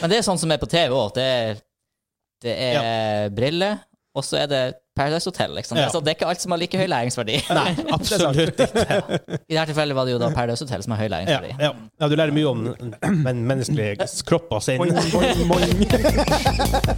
Men det er sånn som er på TV òg. Det, er- det er briller, og så er det Paradise Hotel. Liksom. Ja. Så det er ikke alt som har like høy læringsverdi. Nei, absolutt ikke. I dette tilfellet var det jo da Paradise Hotel som har høy Ja, læringsverdi. ja. ja, du lærer mye om men menneskelige kropp og sinn. Boing, boing, boing.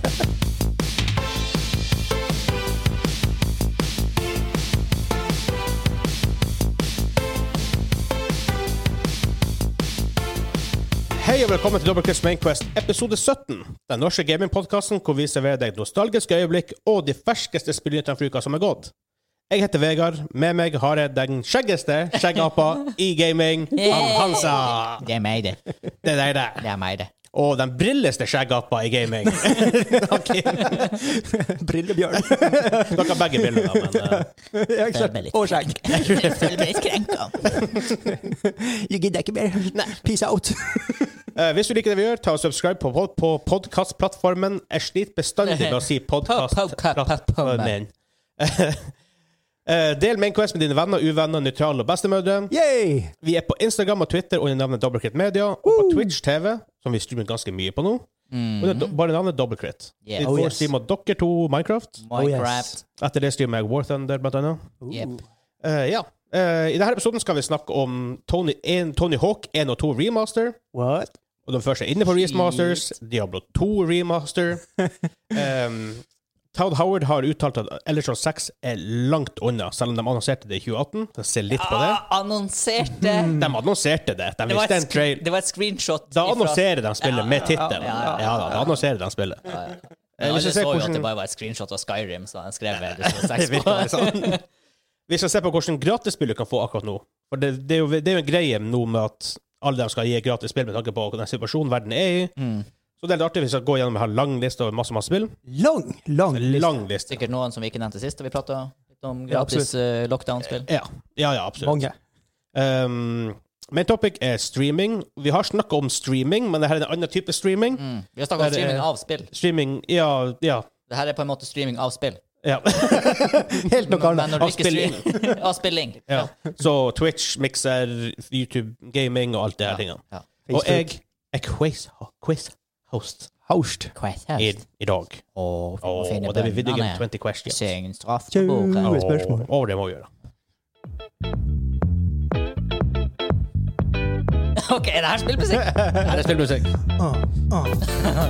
Hei og velkommen til Dobbeltklips Mainquest episode 17. Den norske gamingpodkasten hvor vi serverer deg nostalgiske øyeblikk og de ferskeste spillnyhetene fra uka som er gått. Jeg heter Vegard. Med meg har jeg den skjeggeste skjeggapa i gaming, han Hansa. Det er meg, det. Det er deg, det. Det er meg, det. Og den brilleste skjeggapa i gaming. Brillebjørn. Dere har begge briller, da, men eh, Ja, ikke sant? Føler meg litt Og skjegg. Føler meg litt krenka. Jeg gidder ikke mer. Peace out. Eh, hvis du liker det vi gjør, ta og subscribe på, pod- på podkastplattformen. Jeg sliter bestandig med å si podkastplattformen. Podkastplattformen. Eh, Del Mainquest med dine venner, uvenner, nøytrale og bestemødre. Yay! Vi er på Instagram og Twitter under navnet Dobbeltkritt Media, og på Twitch TV, som vi streamer ganske mye på nå. Under do bare navnet Dobbeltkritt. Mm. Yeah. Vi Oh, får yes. streama dere to Minecraft. Minecraft. Etter det streamer jeg War Thunder, blant annet. Jep. Eh, ja. Eh, I denne episoden skal vi snakke om Tony, 1, Tony Hawk 1 og 2 Remaster. What? Og de første er inne på remasters. Diablo 2 remaster. Um, Todd Howard har uttalt at Elderson 6 er langt unna, selv om de annonserte det i 2018. Så Se litt på det. Ah, annonserte De annonserte det. De det var, viste et en sk- trail. det var et screenshot. Da ifra- annonserer de spillet med Ja, tittelen. ja, ja, Ja da, da annonserer de spillet. Men Eh, Alle Hvis vi så ser jo at det hvordan bare var et screenshot av Skyrim, så han skrev det. det sto Det seks virker på. bare sånn. Vi skal se på hvordan gratisspill du kan få akkurat nå. For det, det, er jo, det er jo en greie nå med at alle de skal gi gratis spill med tanke på den situasjonen verden er i. Mm. Så det er litt artig hvis vi skal gå gjennom en lang liste over masse masse spill. Lang, lang liste. Lang liste. Sikkert noen som vi ikke nevnte sist, da vi prata om Ja, gratis eh, lockdown-spill. Ja, ja, ja absolutt. Mange. Um, Main topic er streaming. Vi har snakka om streaming, men dette er en annen type streaming. Mm. Vi har snakka om Det er- streaming av spill. Streaming, ja, ja. Det her er på en måte streaming av spill. ja. Helt noe Men annet. når du av ikke streamer Av spilling. ja. Så Twitch, Mixer, YouTube, gaming og alt det her tingene. Ja. Og jeg er quiz, quiz host Haust. Quest i, House. i dag. Og, vi må Og, finne og det blir Video Game bønnene. 20 Questions. Syng straff på bordet. Tjau. Og, Gode spørsmål. og det må vi gjøre. OK, det her spiller musikk. Her er spillmusikk. Ah, ah.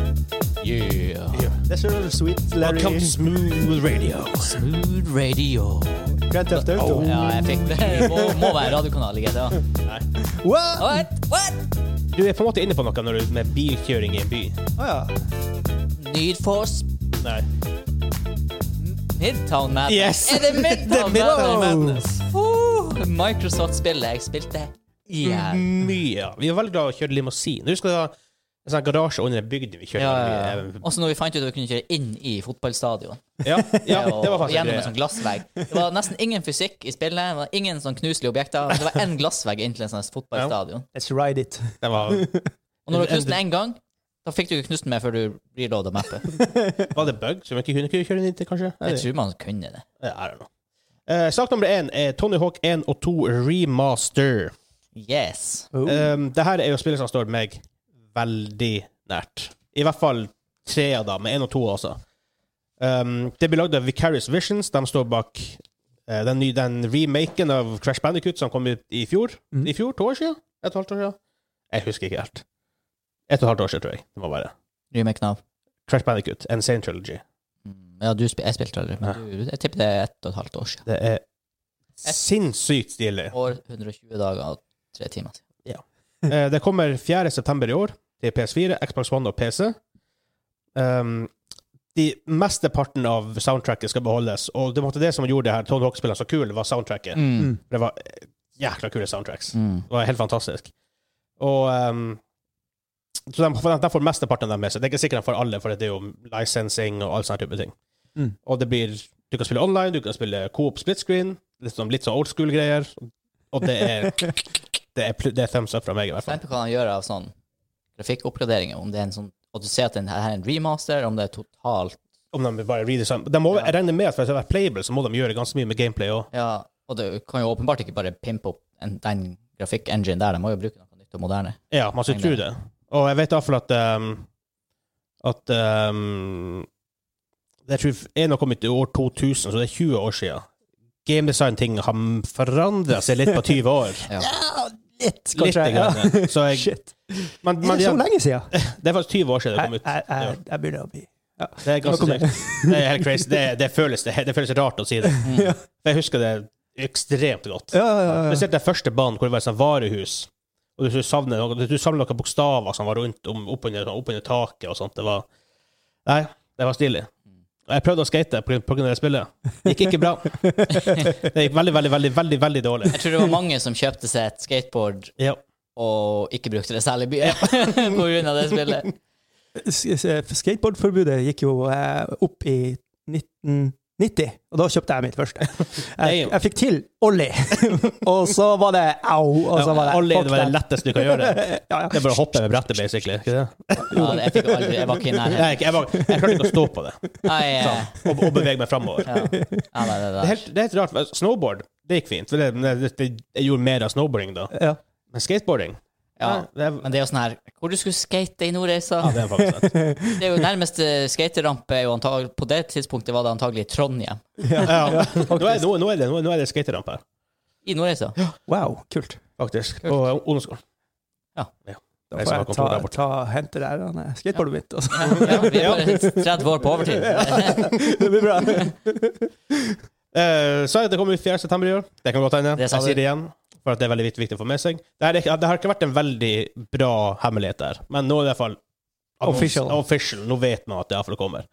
Yeah. Det er så sweet, Larry. Welcome to Smooth Radio. Smooth radio. Grand Theft Auto. Ja, jeg fikk det. Det Må, må være radiokanal i GTA. What? What? What? Du er på en måte inne på noe når du med bilkjøring i en by. Ah, ja. Need for sp- Nei. Midtown Madness. Yes. Er det Midtown Midtown Madness? Uh, Microsoft-spillet jeg spilte i her. Mye. ja. Vi er veldig glad i å kjøre limousin. Du skal ha en sånn garasje under en bygd vi kjører Ja, ja, ja. gjennom. Også når vi fant ut at vi kunne kjøre inn i fotballstadion. Ja, ja, det og var faktisk gjennom en sånn greit. glassvegg. Det var nesten ingen fysikk i spillet. Det var ingen sånn knuselige objekter. Det var én glassvegg inn til en sånn fotballstadion. Let's ride it. Det var, Og når du knuste den én gang, da fikk du ikke knust den mer før du reloada mappet. var det bug som vi ikke kunne kunne kjøre inn til, kanskje? Jeg tror man kunne det. I don't know. Eh, sak nummer én er Tony Hawk 1 og 2 Remaster. Yes. Oh. Um, det her er jo spillet som står meg veldig nært. I hvert fall tre av dem, men én og to også. Um, det blir lagd av Vicarious Visions. De står bak eh, den, nye, den remaken av Crash Bandicoot som kom ut i fjor. Mm. I fjor? To år siden? Et og et halvt år siden? Jeg husker ikke helt. Et og et halvt år siden, tror jeg. Det må være. Remaken av Crash Bandicoot, Insane Trilogy. Mm, Ja, du spil, jeg spilte aldri, men du, jeg tipper det er ett og et halvt år siden. Det er sinnssykt stilig. År 120 dager og tre timer. Eh, Det kommer 4. september i år til PS4, Xbox One og PC. Um, de Mesteparten av soundtracket skal beholdes, og det var det som gjorde det her Tony Hawk-spillene så kule, var soundtracket. Mm. Det var eh, jækla kule soundtracks. Mm. Det var helt fantastisk. Og um, så de, får- de får mesteparten av dem med seg. Det er ikke sikkert de får alle, for det er jo licensing og all sånne type ting. Mm. Og det blir Du kan spille online, du kan spille coop split screen, litt sånn, litt sånn old school-greier. Og det er, det, er, pl- det er thumbs up fra meg, i hvert fall. Spent på hva han gjør av sånn grafikkoppgraderinger. Om det er en sånn Og du ser at den her er en remaster, om det er totalt Om de bare redesign. De må, Ja. Jeg regner med at for å være playable, så må de gjøre ganske mye med gameplay òg. Ja, og du kan jo åpenbart ikke bare pimpe opp en, den grafikk-engine der. De må jo bruke noe nytt og moderne. Ja, man skulle tro det. Og jeg vet iallfall at um, at ehm, Jeg tror en har kommet i år 2000, så det er 20 år siden. Gamedesign-ting har forandra seg litt på 20 år. Ja, litt, Litt. kanskje. ja. grann. Så jeg, Shit. men, Er men, det ja, så lenge siden? Jeg, det er faktisk 20 år siden det kom ut. jeg, Ja. jeg, jeg begynner å bli Det er ganske Nok om det. sykt. Det er helt crazy. Det, det, føles, det, det føles rart å si det. Ja. Jeg husker det ekstremt godt. Ja, ja, ja. Spesielt den første banen hvor det var et sånt varehus. Og du savner noe, du savner noen bokstaver som var rundt om, oppunder opp under taket og sånt. Det var Nei, det var stilig. Og jeg prøvde å skate på grunn- på grunn av det spillet. Det gikk ikke bra. Det gikk veldig, veldig, veldig, veldig veldig dårlig. Jeg tror det var mange som kjøpte seg et skateboard Ja. og ikke brukte det særlig mye på grunn av det spillet. S- s- Skateboardforbudet gikk jo eh, opp i 1990, og da kjøpte jeg mitt første. Jeg, jeg fikk til ollie, og så var det au, og så var det Ollie, fuck det var det that. letteste du kan gjøre. Ja, ja. Det er bare å hoppe med brettet, basically. Ikke det? Ja, det- jeg, fikk aldri, jeg var ikke i nærheten. Nei, jeg, var, jeg klarte ikke å stå på det Nei, eh, og, og bevege meg framover. ja. Ja, nei, det Det er, der. helt, det er helt rart. for Snowboard, det gikk fint. For det, det, det, jeg gjorde mer av snowboarding da. Ja. Men skateboarding Ja. nei, det, er, Men det er jo sånn her Hvor du skulle skate i Nordreisa? ja, det er faktisk sant. Det er jo nærmeste skaterampe er jo antag På det tidspunktet var det antagelig Trondheim. Ja. Nå, er, nå, nå, er det, nå, nå er det skaterampe her, I Nordreisa. Wow, kult. faktisk. På ungdomsskolen. Da Jeg får skal ha jeg ta, kontor der borte. ta hente det her eh, skateboardet mitt. og så- Ja, vi er bare 30 år på overtid. Det blir bra. Eh, så er det kommer ut 4. september i år. Det kan godt hende. Det Jeg sa du. sier det igjen, for at det er veldig vikt- viktig å få med seg. Det, er, ikke- det har ikke vært en veldig bra hemmelighet der, men nå er det i hvert fall annons- Official. official. Nå vet man at det iallfall kommer.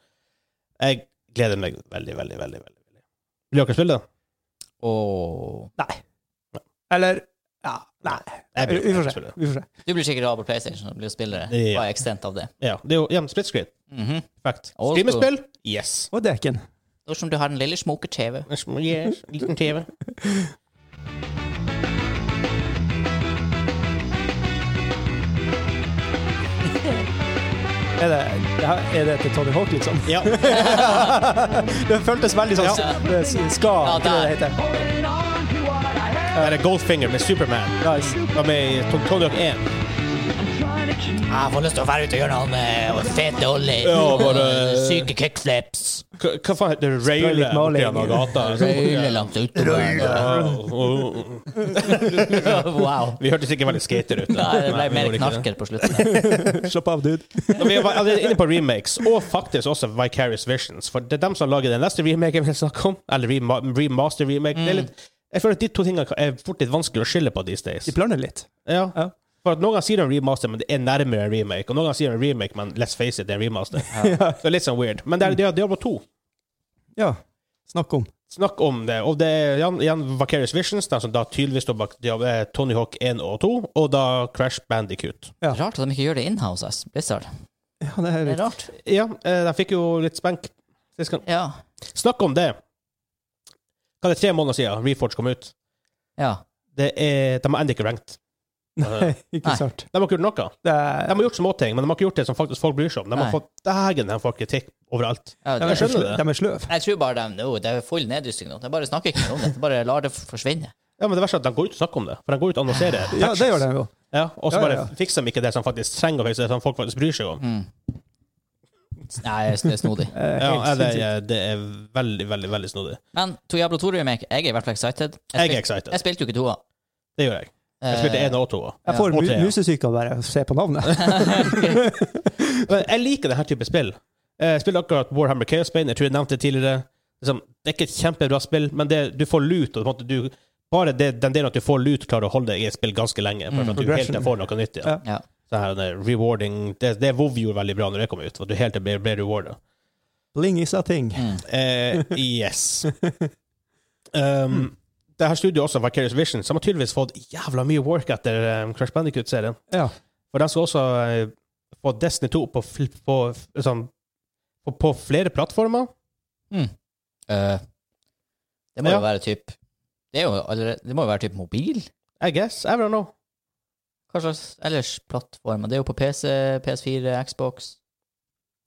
Jeg gleder meg veldig, veldig, veldig. veldig. Vil dere spille det? Åh. Nei. Eller ja, Nei. Jeg blir- Vi får jeg se. spiller. Vi får se. Du blir sikkert av på PlayStation og blir spillere. Ja. Hva er ekstent av det? Ja, det er jo ja, split screen. Mhm. Perfekt. Old Streamespill? Yes. Og dekken. Det er som du har den lille smoker-TV. Yes, liten TV. Er det, ja, er det til Tony Hawk, liksom? Ja. det føltes veldig sånn Ja. det s- Ska, Ja, ikke det det der. heter. Her er Goldfinger med Superman. Nice. Og med Tony Hawk 1. Jeg får lyst til å være ute og gjøre noen eh, fete ollie. Ja, bare- Syke kickflips. Hva hva faen heter det? Røyle litt maling. borti gata? sånn? Røyle langs utover. Wow. Wow. Vi hørtes ikke veldig skater ut. Nei, det ble vi mer gjorde ikke det. knarker på slutten. Slapp av, dude. Og Vi var allerede inne på remakes, og faktisk også Vicarious Visions. For det er dem som lager den neste remaken vi snakker om, eller rema- remaster remake. Det er litt, jeg føler at de to tingene er fort litt vanskelig å skille på these days. De blander litt. Ja. Ja. For at Noen ganger sier de en remaster, men det er nærmere en remake. Og noen ganger sier de en remake, men let's face it, det er en remaster. Så det er litt sånn weird. Men det er, det er Diablo 2. Ja. Snakk om. Snakk om det. Og det er igjen, igjen Vicarious Visions, de som da tydeligvis står bak Diablo, eh, Tony Hawk 1 og 2, og da Crash Bandicoot. Ja. Rart at de ikke gjør det inhouse, ass. Blizzard. Ja, det er Det er litt. rart. Ja, eh, de fikk jo litt spenk. sist gang. Ja. Snakk om det. Hva er det tre måneder siden Reforge kom ut? ja. Det er, de har ennå ikke ranket. Nei, ikke Nei. sant. De har ikke gjort noe. Det De er, har gjort småting, men de har ikke gjort det som faktisk folk bryr seg om. De har Nei. fått dægen de får kritikk overalt. ja de, det, er skjønner sløv, det. de er sløv. jeg tror bare de nå, Det er full nedrusting nå. Jeg bare snakker ikke mer om det. Jeg bare lar det forsvinne. Ja, men det verste er at de går ut og snakker om det, for de går ut og annonserer. Ja, det gjør de jo. Ja, og så Ja, ja, bare ja. fikser de ikke det som faktisk trenger å fikse, det som folk faktisk bryr seg om. Nei, det er snodig. Eh, Ja, helt er det, sinnssykt. det er veldig, veldig veldig snodig. Men to Diablo 2-remake, jeg er i hvert fall excited. Jeg er spil- excited. Jeg spilte jo ikke toa. Eh, Det gjør jeg. Jeg spilte én og to. også. Jeg får Ja. Og tre, mu- ja. musesyke av bare å se på navnet. Eh, Men jeg liker denne type spill. Jeg spiller akkurat Warhammer Chaos Bane. Jeg tror jeg nevnte det tidligere. Liksom, det er ikke et kjempebra spill, men det, du får lut. Og på en måte du, bare det, den delen at du får lut, klarer å holde deg i et spill ganske lenge. For at du helt Progression. til Mm. får noe nytt igjen. Ja. Ja. Så her, det, er rewarding, det, det WoW gjorde veldig bra når det kom ut, at du helt til ble, ble rewarda. Bling is a thing. mm. Eh, yes. Um, det her studioet også, Vicarious Vision, som har tydeligvis fått jævla mye work etter um, Crash Bandicoot-serien. Ja. For de skal også eh, få Destiny 2 på, fl- på, liksom, på, på flere plattformer. Eh, det må Mm. Ja. jo være typ Det, er jo allerede, det må jo være typ mobil? I guess. I don't know. Hva slags ellers plattform? Det er jo på PC, PS4, Xbox.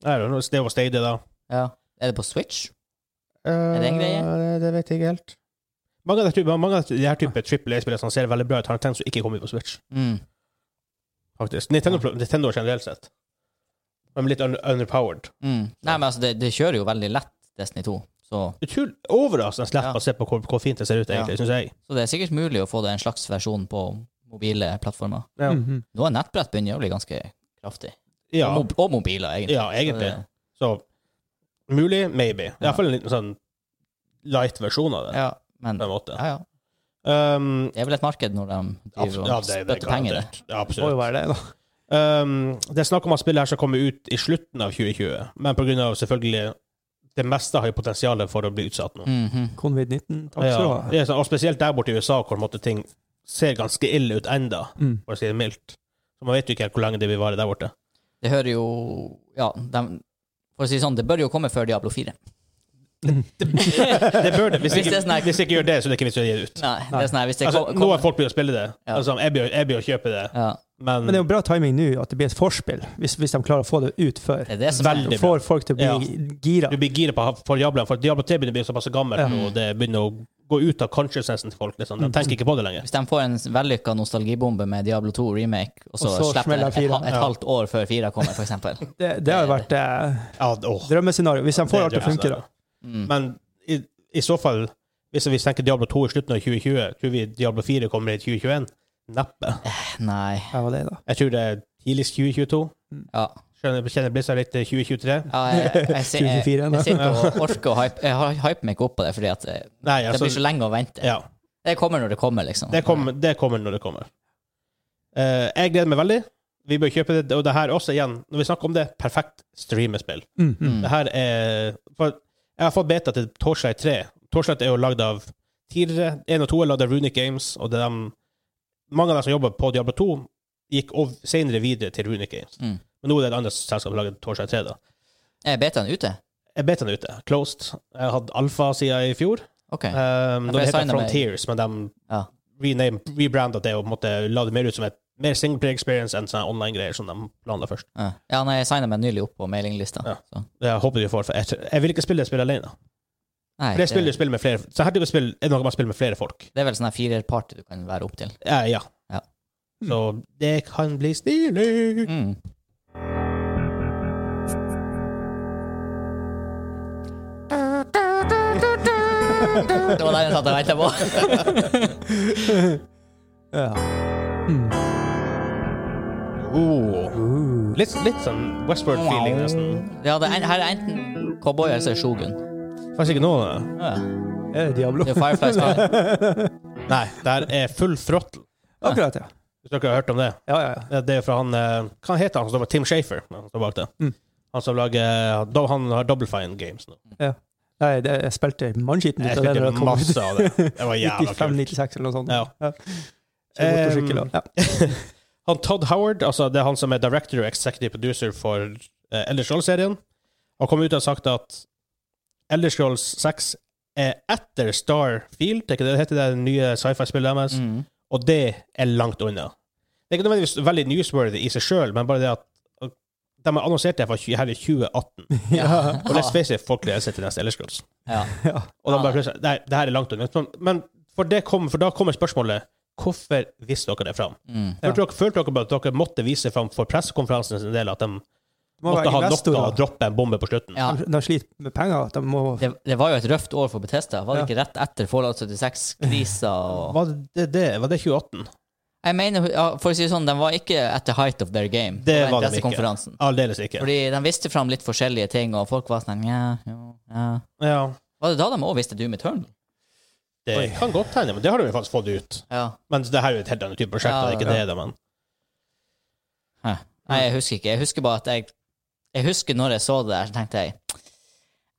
I don't know. Det var Stadia, da. Ja. Er det på Switch? det en greie? Eh, Det, det vet jeg ikke helt. Mange av de, type- mange av de her type trippel A-spillere som ser veldig bra ut, har en tendens til å ikke komme ut på Switch. Mm. faktisk. Nintendo, Nintendo generelt sett. men litt un underpowered. Mm. Nei, men altså, det, det kjører jo veldig lett, Destiny 2. Så, Utrolig overraskende lett Ja. å se på hvor, hvor fint det ser ut, egentlig, synes jeg. så det er sikkert mulig å få det en slags versjon på mobile plattformer. Ja. Mhm. Nå er nettbrett begynner å bli ganske kraftig. Ja, Og, mob og mobiler, egentlig. ja, egentlig. Så det- Så mulig, maybe. Ja. Iallfall en liten sånn light versjon av det, Ja, men på en måte. ja, ja. Um, Det er vel et marked når de abs- driver og ja, det, det er spytter penger i det. garantert. Ja, Må jo absolutt. være det, da. Um, det er snakk om at spillet her skal komme ut i slutten av 2020, men på grunn av selvfølgelig det meste har jo potensial for å bli utsatt nå. Mhm. Covid-19. Takk skal du Ja, ha. det er sånn, og spesielt der borte i USA, hvor på en måte, ting ser ganske ille ut enda, Mm. for å si det mildt. Så man vet jo ikke helt hvor lenge det vil vare der borte. Det hører jo Ja, de, for å si det sånn, det bør jo komme før Diablo 4. Det bør det. Hvis Hvis det ikke, er sånn her- hvis ikke gjør det, så er det ikke vits i å gi det ut. Nei, det er sånn her hvis det Altså, kom- nå kom- er folk begynt å spille det. Ja. Altså, jeg blir jeg blir å kjøpe det, ja, men, Men det er jo bra timing nå, at det blir et forspill, hvis, hvis de klarer å få det ut før. det er det som Veldig. er Da får folk til å bli gira. du blir giret på for Diablo, for Diablo 3 begynner å bli såpass gammelt Ja. nå, og det begynner å gå ut av consciousnessen til folk. Mm. Liksom. De tenker ikke på det lenger. Hvis de får en vellykka nostalgibombe med Diablo 2 remake, og så, Og slipper så de smeller et, et, fireren. et Ja. halvt år før fire kommer, for eksempel. Det, det har vært eh, Ja, åh, drømmescenario, hvis de får alt det altså. til å funke, da. Mm. Men i, i så fall, hvis vi tenker Diablo 2 i slutten av 2020, tror vi Diablo 4 kommer i 2021? Neppe. Eh, Nei. Ja, det var det, da. Jeg tror det er tidligst 2022. Ja. Skjønner, kjenner Blizzard litt eh, til 2023? ja jeg, jeg, jeg, jeg, jeg, 2024 ennå. sitter og orker å hype Jeg har- hyper meg ikke opp på det, fordi at eh, Nei, det altså, blir så lenge å vente. ja. Det kommer når det kommer, liksom. Det kommer, det kommer når det kommer. Eh, jeg gleder meg veldig. Vi bør kjøpe det. Og det her også, igjen, når vi snakker om det, perfekt streamespill. Mm, mm. Mm. Det her er for Jeg har fått beta til Torchlight 3. Torchlight er jo lagd av tidligere. 1 og 2 er lagd av Runic Games, og det er dem, mange av dem som jobber på Diablo 2, gikk ov- senere videre til Runic Games. Mm. Men nå er det et annet selskap som lager Torchlight 3, da. Er betaen ute? Jeg betaen er ute. Closed. Jeg har hatt alfa siden i fjor. OK. Um, Ja, det for jeg heter signet meg- Frontiers, men de Ja. rename- rebranda det og på en måte la det mer ut som et mer singleplayer experience enn sånne online-greier som de planla først. Ja, ja nei, jeg signa meg nylig opp på mailinglista. Ja. så. Jeg håper de får, for jeg, tror- jeg vil ikke spille det spillet alene. Nei, det, For det spiller du spiller med flere Så her type spill er det noe man spiller med flere folk. det er vel sånn her firerparty du kan være opp til. Ja. ja. Ja. Så det kan bli stilig. Mm. Det var den jeg satt og venta på. Ja. Oh. Uh. Litt, litt sånn Westward-feeling, nesten. Ja, det er, en- her er enten cowboy eller så er det shogun. Faktisk ikke noe av det. Ja, Er det Diablo? det er Firefly Sky. Nei, det her er full throttle. Akkurat, ja. Hvis dere har hørt om det. Ja, ja, ja. Ja, Det er fra han eh, Hva heter han som står bak Tim Shafer? Han, står bak det. Mm. han som lager eh, do- Han har Double Fine Games nå. Nei, det, jeg spilte mannskitten Jeg ut av det. når spilte det kom ut. masse av det. Det var jævla kult. 95-96 eller noe sånt. Ja. Så godt å sykle, da. ja. Han Todd Howard, altså det er han som er director og executive producer for uh, Elder Scrolls-serien, har kommet ut og sagt at Elder Scrolls 6 er etter Starfield, er ikke det det heter, det er det nye sci-fi-spillet deres, Mm. og det er langt unna. Det er ikke nødvendigvis veldig newsworthy i seg sjøl, men bare det at at de har annonsert det fra tj- her i 2018. Ja. Og let's face it, folk gleder seg til neste Elder Scrolls. Ja. Og da Ja. bare plutselig Nei, det her er langt unna. Men, men for, det kom, for da kommer spørsmålet Hvorfor viste dere det fram? Mm. Ja. Følte dere, følte dere bare at dere måtte vise fram for pressekonferansen sin del at de Må måtte være ha investor, noe å da. droppe en bombe på slutten? ja. De, de sliter med penger. at De må Det, det var jo et røft år for Bethesda. Var det ikke rett etter Fallout 76-krisa? Og... Var det, det, var det 2018? Jeg mener, ja, for å si det sånn, de var ikke at the height of their game. på Det den var de ikke. pressekonferansen. Aldeles ikke. Fordi de viste fram litt forskjellige ting, og folk var sånn ja, jo, ja. Ja, Var det da de òg visste Doom Eternal? det Oi. kan godt hende, men det har de jo faktisk fått ut. Ja. Men det her er jo et helt annet type prosjekt. Ja, og det er ikke ja. det, da, men Hæ. Nei, jeg husker ikke. Jeg husker bare at jeg Jeg husker når jeg så det der, så tenkte jeg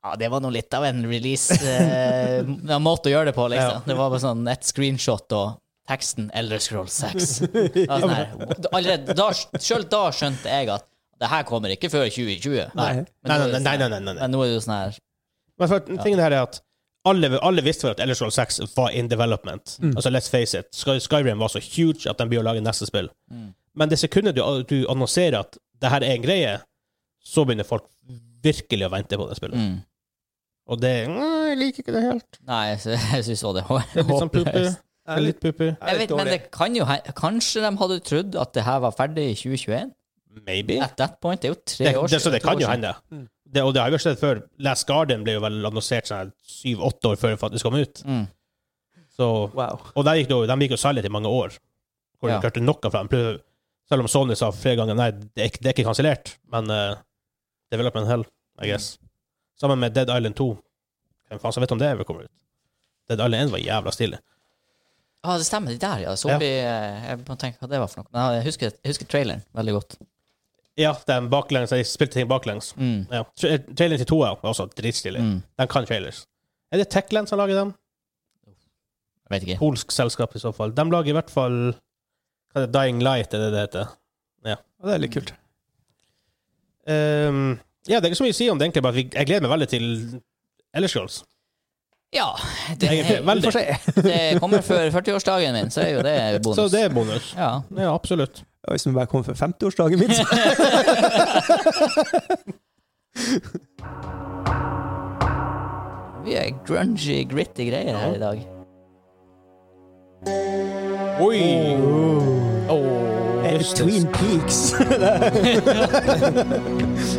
ja, det var nå litt av en release-måte å gjøre det på, liksom. Ja. Det var bare sånn et screenshot og teksten 'Elder Scroll 6'. Det var sånn her, allerede da, selv da skjønte jeg at det her kommer ikke før 2020. Nei. Men nå Nei, er det nei, nei. sånn nei, her- nei, nei, nei. Men nå er det jo sånn her Men for, tingen her er at alle, alle visste vel at Elder Scrolls 6 var in development. Mm. Altså, let's face it, Sky, Skyrim var så huge at de begynner å lage neste spill. Mm. Men det sekundet du, du annonserer at det her er en greie, så begynner folk virkelig å vente på det spillet. mm. Og det Nei, Jeg liker ikke det helt. Nei, jeg sy- jeg syns også det Det er litt sånn pupu. håpløst. Det er Litt pupu. Jeg vet, men det kan jo he- Kanskje de hadde trodd at det her var ferdig i 2021? Maybe. At that point, det er jo tre Det, år det, så det to kan år jo siden. hende. Mm. Det, og det har vi jo sett før. Last Guardian ble jo vel annonsert sånn syv-åtte år før det faktisk kom ut. Mm. Så, Wow. og der gikk det, jo- de gikk jo silent i mange år. Hvor Ja. de klarte noe fra dem. Plus- Selv om Sony sa flere ganger nei, det er ikke, det er ikke kansellert. Men uh, development hell, I guess. Sammen med Dead Island 2. Hvem faen som vet om det ever kommer ut? Dead Island 1 var jævla stilig. Ja, det stemmer. De der, ja. Zombie eh, Jeg må tenke hva det var for noe. Men jeg husker, jeg husker traileren veldig godt. Ja, den baklengs, de spilte ting baklengs. Mm. Ja. Tra eh, traileren til 2 er også dritstilig. Mm. Den kan trailers. Er det Techland som lager den? Jeg vet ikke. polsk selskap i så fall. De lager i hvert fall hva er det, Dying Light, er det det heter. Ja, det er litt kult. Ehm, ja, det er ikke så mye å si om det, egentlig. Bare at vi, jeg gleder meg veldig til Ellers Girls. Ja, det, Egentlig, Vi veldig. får se. det kommer før 40-årsdagen min, så er jo det bonus. Så det er bonus. Ja. Ja, absolutt. Hvis vi bare kommer for 50-årsdagen min, så Vi er grungy, gritty greier her i dag. Oi! er det Twin Peaks.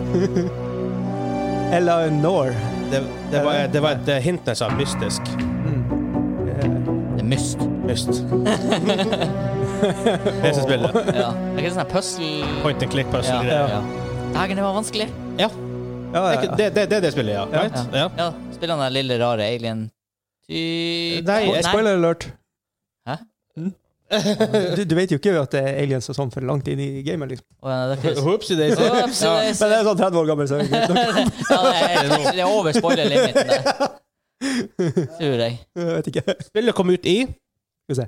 Eller Nor. Det, det, var, det var et eh, hint jeg sa mystisk. Mm. Eh, Det er myst. Myst. PC-spillet. Ja. Det er ikke sånn her puzzle... Point and click Ja. puzzle-greier. ja. Dagen, det var vanskelig. Ja. Ja, Det er ja. ikke- Det, det, det er det spillet, ja. Ja. Right? Ja. Ja, spiller han den lille, rare alien Ty... Nei, jeg Spoiler alert. Hæ? Mm. Du, du vet jo ikke at det er aliens og sånn for langt inn i gamet, liksom. Å, ja, det er ikke- Whoopsie daisy. Å, absolutt. Men det er sånn 30 år gammel, så er det greit nok. Ja, det er- det er over spoiler-limiten der. Tror jeg. Jeg vet ikke. Skal Spillet kom ut i vi se.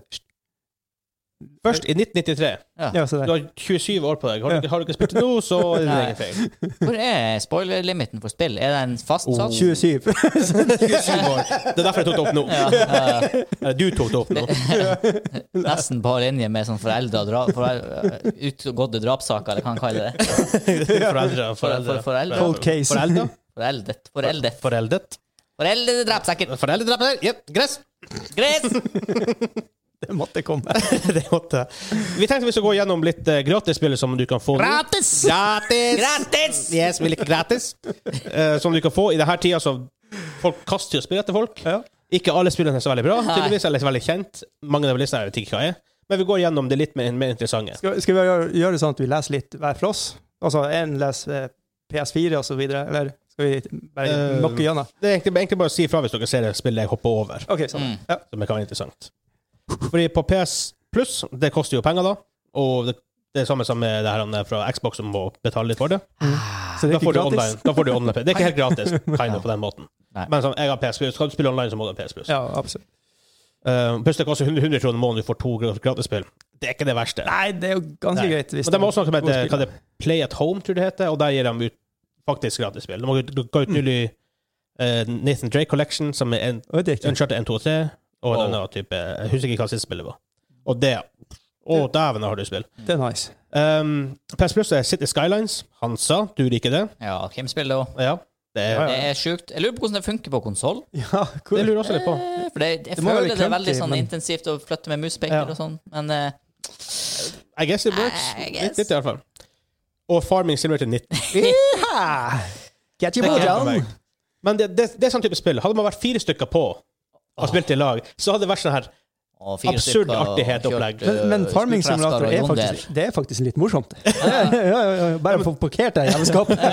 Først i 1993. Ja, se Du der. har 27 år på deg. Har du, ikke- har du ikke spilt det nå, så er det din Nei. egen feil. Hvor er spoiler-limiten for spill? Er den Oh. fastsatt? 27. Det er derfor jeg tok det opp nå. Ja, ja, ja. Eller du tok det opp nå. nesten på linje med sånn foreldre og dra, foreldre, eh, utgåtte drapssaker, eller hva man kaller det. Foreldre. For- for- foreldre. Cold case. Foreldre. Foreldet. Foreldet. Foreldet. Foreldede drapssaker. Foreldre drept der. Jepp. Gress. Gress! Det måtte komme. Det måtte Vi tenkte vi skulle gå gjennom litt eh, gratisspill som du kan få nå. Gratis! Gratis! Gratis! Yes, vi liker gratis. Eh, som du kan få i denne tida som folk kaster jo spill etter folk. Eh, Ja. Ikke alle spillene er så veldig bra, Nei. tydeligvis, eller så veldig kjent. Mange av listene vet ikke hva er. Men vi går gjennom det litt mer, mer interessante. Skal, skal vi gjøre, gjøre det sånn at vi leser litt hver for oss? Altså én leser eh, PS4 og så videre, eller skal vi bare Eh, nokke gjennom? Det er egentlig, egentlig bare å si ifra hvis dere ser det spillet jeg hopper over. OK, sånn. Mm. Ja. som kan være interessant. Fordi på PS Pluss, det koster jo penger da, og det, det er samme som med det her han er fra Xbox som må betale litt for det. Så Da det er ikke får du gratis? online. Da får du online. Det er ikke helt gratis, kind of, på den måten. Nei. Men som jeg har PS Pluss, skal du spille online, så må du ha PS Pluss. Ja, absolutt. Eh, pluss det koster 100, 100 kroner i måneden, du får to gra- gratisspill. Det er ikke det verste. Nei, det er jo ganske Nei. greit. Men de har også noe med god det, spill. hva det er, Play at Home, tror jeg det heter, og der gir de ut faktisk gratisspill. De har ut- ga ut nylig eh, Nathan Drake Collection, som er en Å, det er kult. Uncharted 1, 2 og 3, og en Wow. annen type Jeg husker ikke hva siste spillet var. Og det Å, dæven, har du spill. Det er nice. Um, PS Plus er City Skylines. Hansa, du liker det? Ja, hvem spiller da? Ja. Det, er, Det er sjukt. Jeg lurer på hvordan det funker på konsoll. Ja, det cool. lurer jeg også litt på. For det, jeg Det må være føler litt det er veldig clunky, sånn men- intensivt å flytte med Ja. muspekker og sånn, men eh, I guess it works. I guess. Litt, litt i hvert fall. Og Farming Simulator 19. Yeeha! Get your Det Ah, ball er for down! meg. Men det, det, det er sånn type spill. Hadde man vært fire stykker på og spilt i lag, så hadde det vært sånn her og fire Absurd stykker og artighet kjørt, opplegg. eh, Men, men farming skuddfresker simulator og er jonder. faktisk, det er faktisk litt morsomt. Ja, ja, ja, ja. Bare få parkert deg i jævelskapet.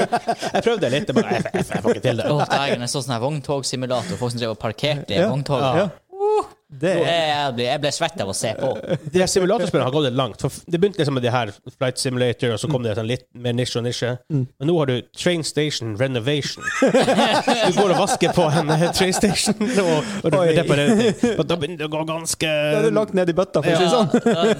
Jeg prøvde litt, jeg bare Jeg, jeg, jeg får ikke til det. Åh, dægen, jeg så sånn her vogntogsimulator. Folk som drev og parkerte i Ja. vogntog. Ja. Det Jeg, er jeg, ble, jeg ble svett av å se på. De her simulatorspillene har gått litt langt. For det begynte liksom med de her Flight Simulator, og så Mm. kom det sånn litt mer nisje og nisje. Men nå har du Train Station Renovation. Du går og vasker på en eh, train station og, og du Oi. reparerer ting. Og da begynner det å gå ganske da er du Jeg lagt ned i bøtta, for å si det sånn.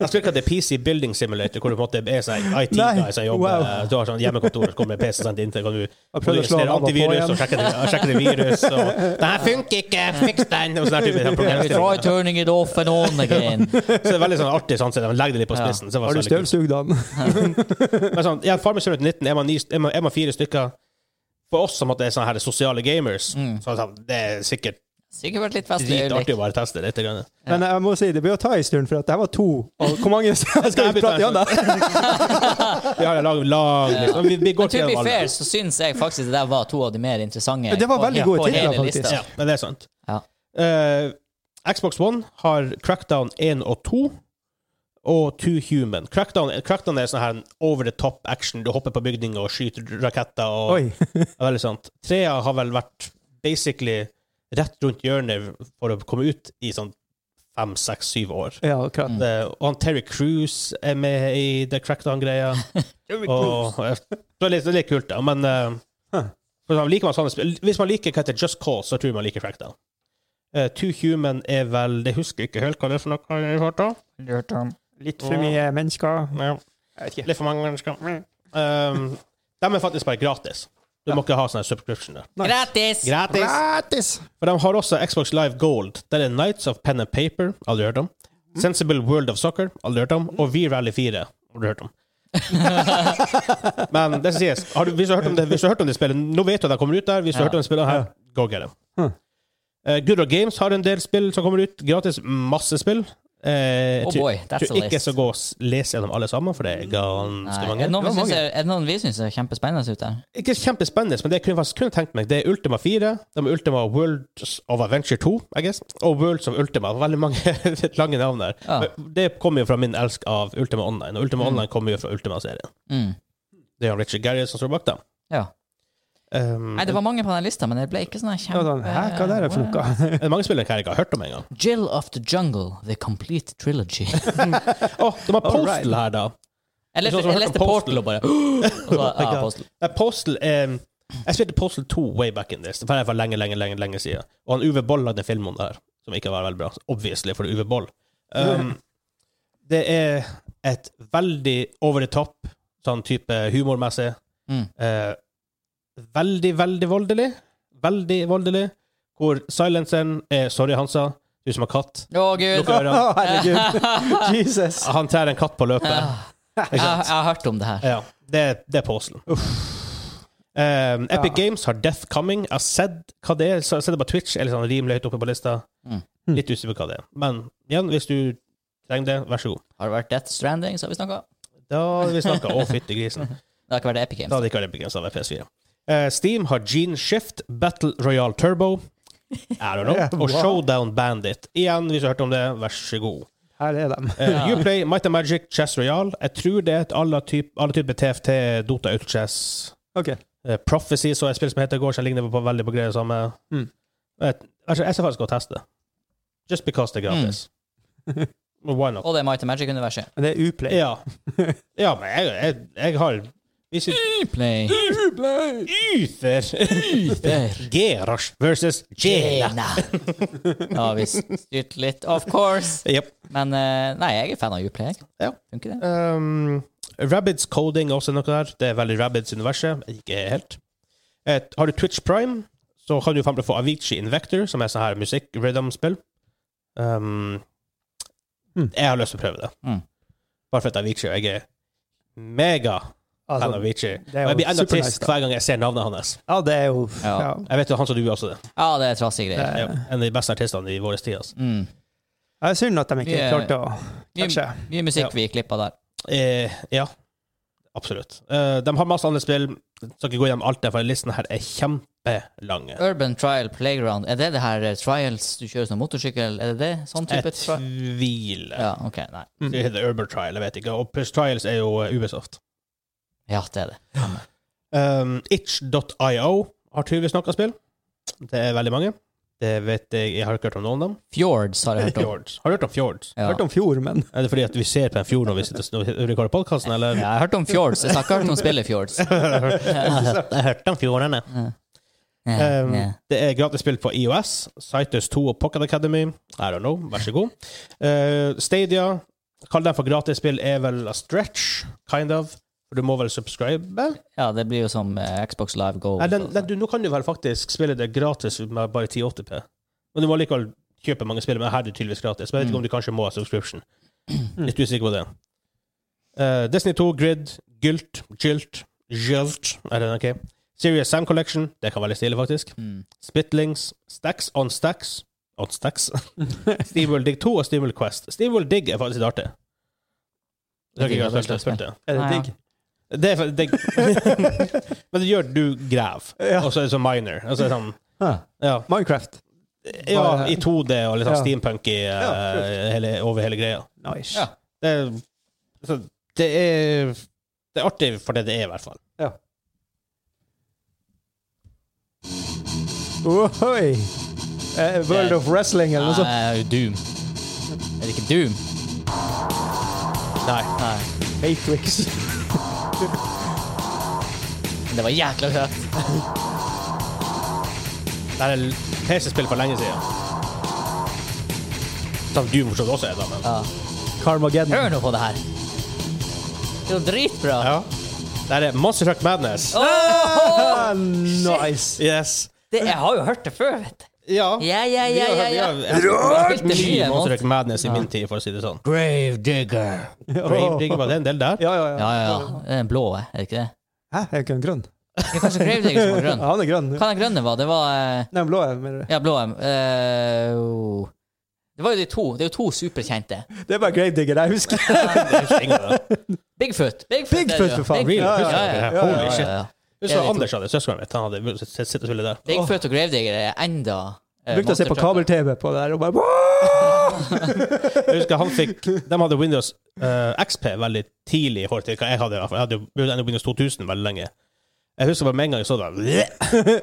tror ikke at det er PC Building Simulator, hvor du på en måte er sånn Nei, IT-guy som jobber. wow. Du har sånn hjemmekontor, så kommer det en PC sendt inn til deg, og Jeg du prøvde å slå installerer av og på antivirus igjen. og sjekker det- sjekker det virus og 'Det her funker ikke! Fiks den!' og sånn der type We try problemstillinger. turning it off and on again. Så det er veldig sånn artig sånn sett. De legger det litt på Ja. spissen. så det var Har du så veldig kult. støvsugd den? Men sånn, ja, Farmers Simulator 19 er man, ni, er, man, er man fire stykker For oss som at det er sånne her sosiale gamers, så er det sånn, det er sikkert Sikkert vært Mm. litt festlig Dritartig øyeblikk. å bare teste litt. Grann. Men jeg må si, det blir å ta en stund, for at det her var to. Og hvor mange skal Skal jeg vi bytte prate en igjen, da? Vi har en lang, lang liste. liksom. Vi, vi går Men to til be alle. fair, så syns jeg faktisk det der var to av de mer interessante Det var på- veldig gode på hele titler, lista. faktisk. Ja, men det er sant. Ja. Eh, Xbox One har Crackdown 1 og 2 og Two Human. Crackdown, Crackdown er sånn her en over the top action. Du hopper på bygninger og skyter raketter. og Oi. Ja, veldig sant. Trea har vel vært basically rett rundt hjørnet for å komme ut i sånn fem, seks, syv år. Ja, akkurat. Det, og han Terry Cruise er med i The Crackdown-greia. og eh, Det er litt, det er litt kult, da. Men eh, Huh. for eksempel, liker man sånne spill Hvis man liker hva heter Just Cause, så tror jeg man liker Crackdown. Uh, Two Human er vel Det husker jeg ikke helt hva det er for noe. Jeg hørte. Litt for mye mennesker. Ja. Jeg vet ikke. Litt for mange mennesker. Um, de er faktisk bare gratis. Du må ikke ha sånne subscriptioner. Gratis! Gratis! Gratis! For de har også Xbox Live Gold. Der er Nights of Pen and Paper, aldri hørt om. Mm. Sensible World of Soccer, aldri hørt om. Og V-Rally 4, aldri hørt om. Men det som sies, har du, hvis du har hørt om det, hvis du har hørt om det spillet, nå vet du at det kommer ut der. Hvis du har hørt om det spillet her, go get it. Hmm. Eh, Good Old Games har en del spill som kommer ut. Gratis masse spill. Eh, jeg Oh tror- boy, that's tror a ikke list. jeg Mm. skal gå og s- lese gjennom alle sammen, for det er ganske Nei, mange. er, det noen vi Det var synes mange. er, er det noen vi syns er kjempespennende ut der? Ikke kjempespennende, men det jeg kunne faktisk kunne tenkt meg, det er Ultima 4, det er Ultima Worlds of Adventure 2, I guess, og Worlds of Ultima. Veldig mange lange navn der. Ja. Men Det kommer jo fra min elsk av Ultima Online, og Ultima Online kommer jo fra Ultima-serien. Mm. Det er jo Richard Garriott som står bak dem. Ja. Um, Nei, det var mange på den lista, men det ble ikke sånn her Ja, da, kjempe... Hæ, hva der er for noe? er det mange spillere her jeg ikke har hørt om engang? Jill of the Jungle, The Complete Trilogy. Å, de har Postal Alright. her, da. Jeg leste, Sånn som jeg jeg hørte leste om Portal og bare og så, ja, God. Postal. Nei, Postal er ehm, Jeg spilte Postal 2 way back in this, for det er for lenge, lenge, lenge lenge siden. Og han Uwe Boll lagde en film om det her, som ikke var veldig bra. Obviously, for det er Uwe Boll. Um, det er et veldig over the top, sånn type humormessig. Mm. Eh, veldig, veldig voldelig. Veldig voldelig. Hvor silenceren er Sorry, Hansa, du som har katt. Å, gud! Lukker Jeg, Å, ørene. herregud. Jesus. Han tærer en katt på løpet. jeg har hørt om det her. Ja, det, det er Postal. Um, Epic Ja. Games har Death Coming. Jeg har sett hva det er. Så jeg har sett det på Twitch. Er litt sånn rimelig høyt oppe på lista. Mm. Litt usikker på hva det er. Men igjen, hvis du trenger det, vær så god. Har det vært Death Stranding, så har vi snakka? Da har vi snakka. Å, fytti grisen. Det har ikke vært Epic Da Games. hadde ikke vært Epic Games, da hadde det vært PS4. Eh, Steam har Gene Shift, Battle Royal Turbo, I don't know, og Showdown Bandit. Igjen, hvis du har hørt om det, vær så god. Her er de. Eh, Uplay, Might and Magic, Chess Royal. Jeg tror det er et alle typer alle typer TFT, Dota, Utchess Ok. Eh, Prophecy, så et spill som heter går, som ligner på, veldig på greier samme. Mm. Vet- altså, jeg skal faktisk gå og teste. Just because det er gratis. Men Why not? Og det er Might and Magic-universet. Men det er Uplay. Ja. ja, men jeg, jeg, jeg har Hvis vi Play. Uther Gerash versus Jena. Jena. Da har vi styrt litt, of course. Yep. Men eh, nei, jeg er fan av Uplay. jeg. Ja. Funker det? Um, Rabbids coding er også noe der. Det er veldig Rabbids universet. Ikke helt. Et, har du Twitch Prime, så kan du for eksempel få Avicii Invector, som er sånn her musikk-rhythm-spill. Um, Mm. Jeg har lyst til å prøve det. Hmm. Mm. Bare for at Avicii Jeg er mega fan av Altså, Avicii. det er Og jeg jo blir enda supernice, trist da. hver gang jeg ser navnet hans. ja, det er jo Ja. ja. Jeg vet jo han som du er også det. Ja, det er trassige greier. Ja, en av de beste artistene i vår tid. Altså. Mm. Det er synd at de ikke Vi er- klarte å Mye, catche. mye musikk vi klippa der. Eh, ja. Absolutt. Eh, de har masse andre spill. Skal ikke gå gjennom alt det, for listen her er kjempelange. Urban Trial Playground, er det det her eh, trials du kjører som motorsykkel? Er det det? Sånn type Jeg trial? tviler. Ja, ok, nei. Det heter Urban Trial, jeg vet ikke. Og Plus Trials er jo eh, Ubisoft. Ja, det er det. Um, Itch.io har tydeligvis noe spill. Det er veldig mange. Det vet jeg, jeg har ikke hørt om noen av dem. Fjords har jeg hørt om. Fjords. Har du hørt om Fjords? Ja. Hørte om fjor, men Er det fordi at vi ser på en fjord når vi sitter og rekorder podkasten, eller? Ja, jeg har hørt om Fjords. Jeg har ikke hørt om spillet Fjords. Jeg hørte om fjordene. Um, det er gratis spill på IOS, Cytus 2 og Pocket Academy. I don't know, vær så god. Uh, Stadia, kall dem for gratis spill, er vel a stretch, kind of. For du må vel subscribe? Ja, det blir jo som eh, Xbox Live Gold. sånn. Nei, den, den, du, nå kan du vel faktisk spille det gratis med bare 1080p. Men du må likevel kjøpe mange spill, men her er det tydeligvis gratis. Men jeg vet ikke om du kanskje må ha subscription. Litt usikker på det. Ehm, Eh, Destiny 2, Grid, Gylt, Gylt, Gylt, er det ok? Serious Sam Collection, det kan være litt stilig, faktisk. Mm. Spitlings, Stacks on Stacks On Stacks. Steamworld Dig 2 og Steamworld Quest. Steamworld Dig er faktisk litt artig. Det er, ikke Jeg digger jeg har det, spilt det. Er det Ja, ja. digg? Det er fa- digg. Men det gjør du grav, Ja. og så er det sånn minor. Og så er det sånn, Ah, ja. Minecraft. ja, i 2D og litt sånn Ja. steampunk i, eh, Ja, kult. hele, over hele greia. Nice. Ja. Det er, så det er Det er artig for det det er, i hvert fall. Ohoi! Eh, World of Wrestling eller noe sånt. Nei, Doom. Er det ikke Doom? Nei. Nei. Matrix. Men det var jækla høyt. Det er l- PC-spill for lenge siden. Som du forstått også er det, men Ja. Hør Carmageddon. nå på det her. Det er jo dritbra. ja. Det er Monster Truck Madness. Åh! Ah, nice. Yes. Det, jeg har jo hørt det før, vet du. Ja. Ja, ja, ja, Vi har- ja, ja. vi har- jeg har Rart! spilt mye Mye Monster Truck Madness i Ja. min tid, for å si det sånn. Grave digger. Grave Digger var det en del der. Ja, ja, Ja, ja. ja, ja. Det er en blå, er det ikke det? Hæ, er ikke han grønn? Det er kanskje grave digger som var grønn. Ja, han er grønn. Hva den grønne var? Det var eh, Nei, blå er mer Ja, blå em. Eh, oh. Det var jo de to. Det er jo to superkjente. Det er bare Gravedigger jeg husker. Jeg husker ingen av det. Bigfoot. Bigfoot, Bigfoot, det er det jo. for faen. Bigfoot. Really? Ja, Husker ja, jeg ja. det? ja, Ja, Holy ja, shit. ja. Ja, Husker du de to. Anders hadde søskenen mitt. Han hadde sittet og spillet der. Bigfoot og gravedigger er enda eh, Jeg brukte å se på monstertrucker. kabel-TV på det der og bare Wah! Jeg husker han fikk De hadde Windows eh, XP veldig tidlig i forhold til hva jeg hadde. i hvert fall. Jeg hadde jo brukt enda Windows 2000 veldig lenge. Jeg husker bare med en gang jeg så det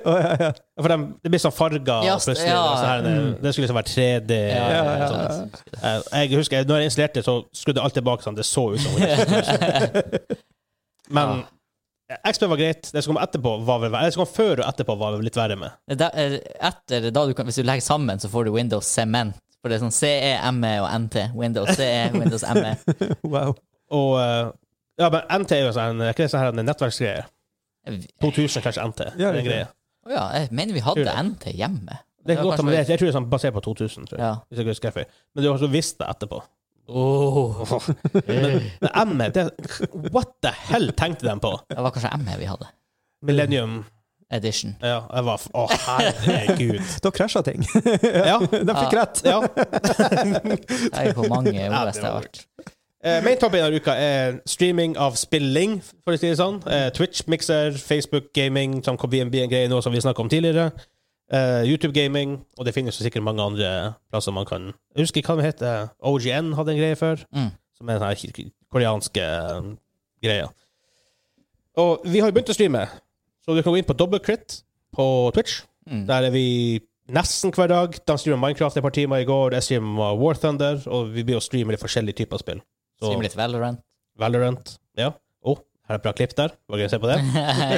Å, ja, ja. For dem- det blir sånn farger Ja, og plutselig. ja. og sånn her, det, det skulle liksom være 3D. Ja, ja, ja, og ja. sånt. Eh, Jeg husker, når jeg installerte, så skrudde alt tilbake sånn. Det så ut som Windows 2000. Men XP var greit. Det som kom etterpå, var vel verre. Det som kom før og etterpå, var vel litt verre med. Det der er- Etter da du kan, Hvis du legger sammen, så får du Windows Cement. For det er sånn CE, ME og NT. Windows CE, Windows E. ME. Wow. Og eh, ja, men NT er jo sånn, er ikke det sånn her en nettverksgreie? 2000 kanskje NT. Ja, det er en det- greie. Å ja, jeg mener vi Tror hadde det. NT hjemme. Det er var godt, kanskje- men jeg, jeg tror det er sånn basert på 2000, tror jeg. Ja. Hvis jeg husker feil. Men du har også visst det etterpå. Åh. Men, men ME, det, what the hell tenkte de på? Det var kanskje ME vi hadde. Millennium Edition. Ja, jeg var f- Å, herregud. Da krasja ting. Ja. De fikk Ja. rett. ja. Jeg vet ikke hvor mange OS det var har vært. Eh, main topic denne uka er streaming av spilling, for å si det sånn. Eh, Twitch, Mixer, Facebook gaming, som kan bli en bli en greie nå, som vi snakka om tidligere. Eh, YouTube gaming, og det finnes jo sikkert mange andre plasser man kan Jeg husker hva det heter. OGN hadde en greie før. Mm. Som er den her k- koreanske um, greia. Og vi har jo begynt å streame, så du kan gå inn på Dobbelkrit på Twitch. Mm. Der er vi nesten hver dag. De streamer Minecraft et par timer i går, jeg streamer War Thunder, og vi blir å streame litt forskjellige typer spill. Så Stream litt Valorant. Valorant, ja. Å, her er et bra klipp der. Var gøy å se på det.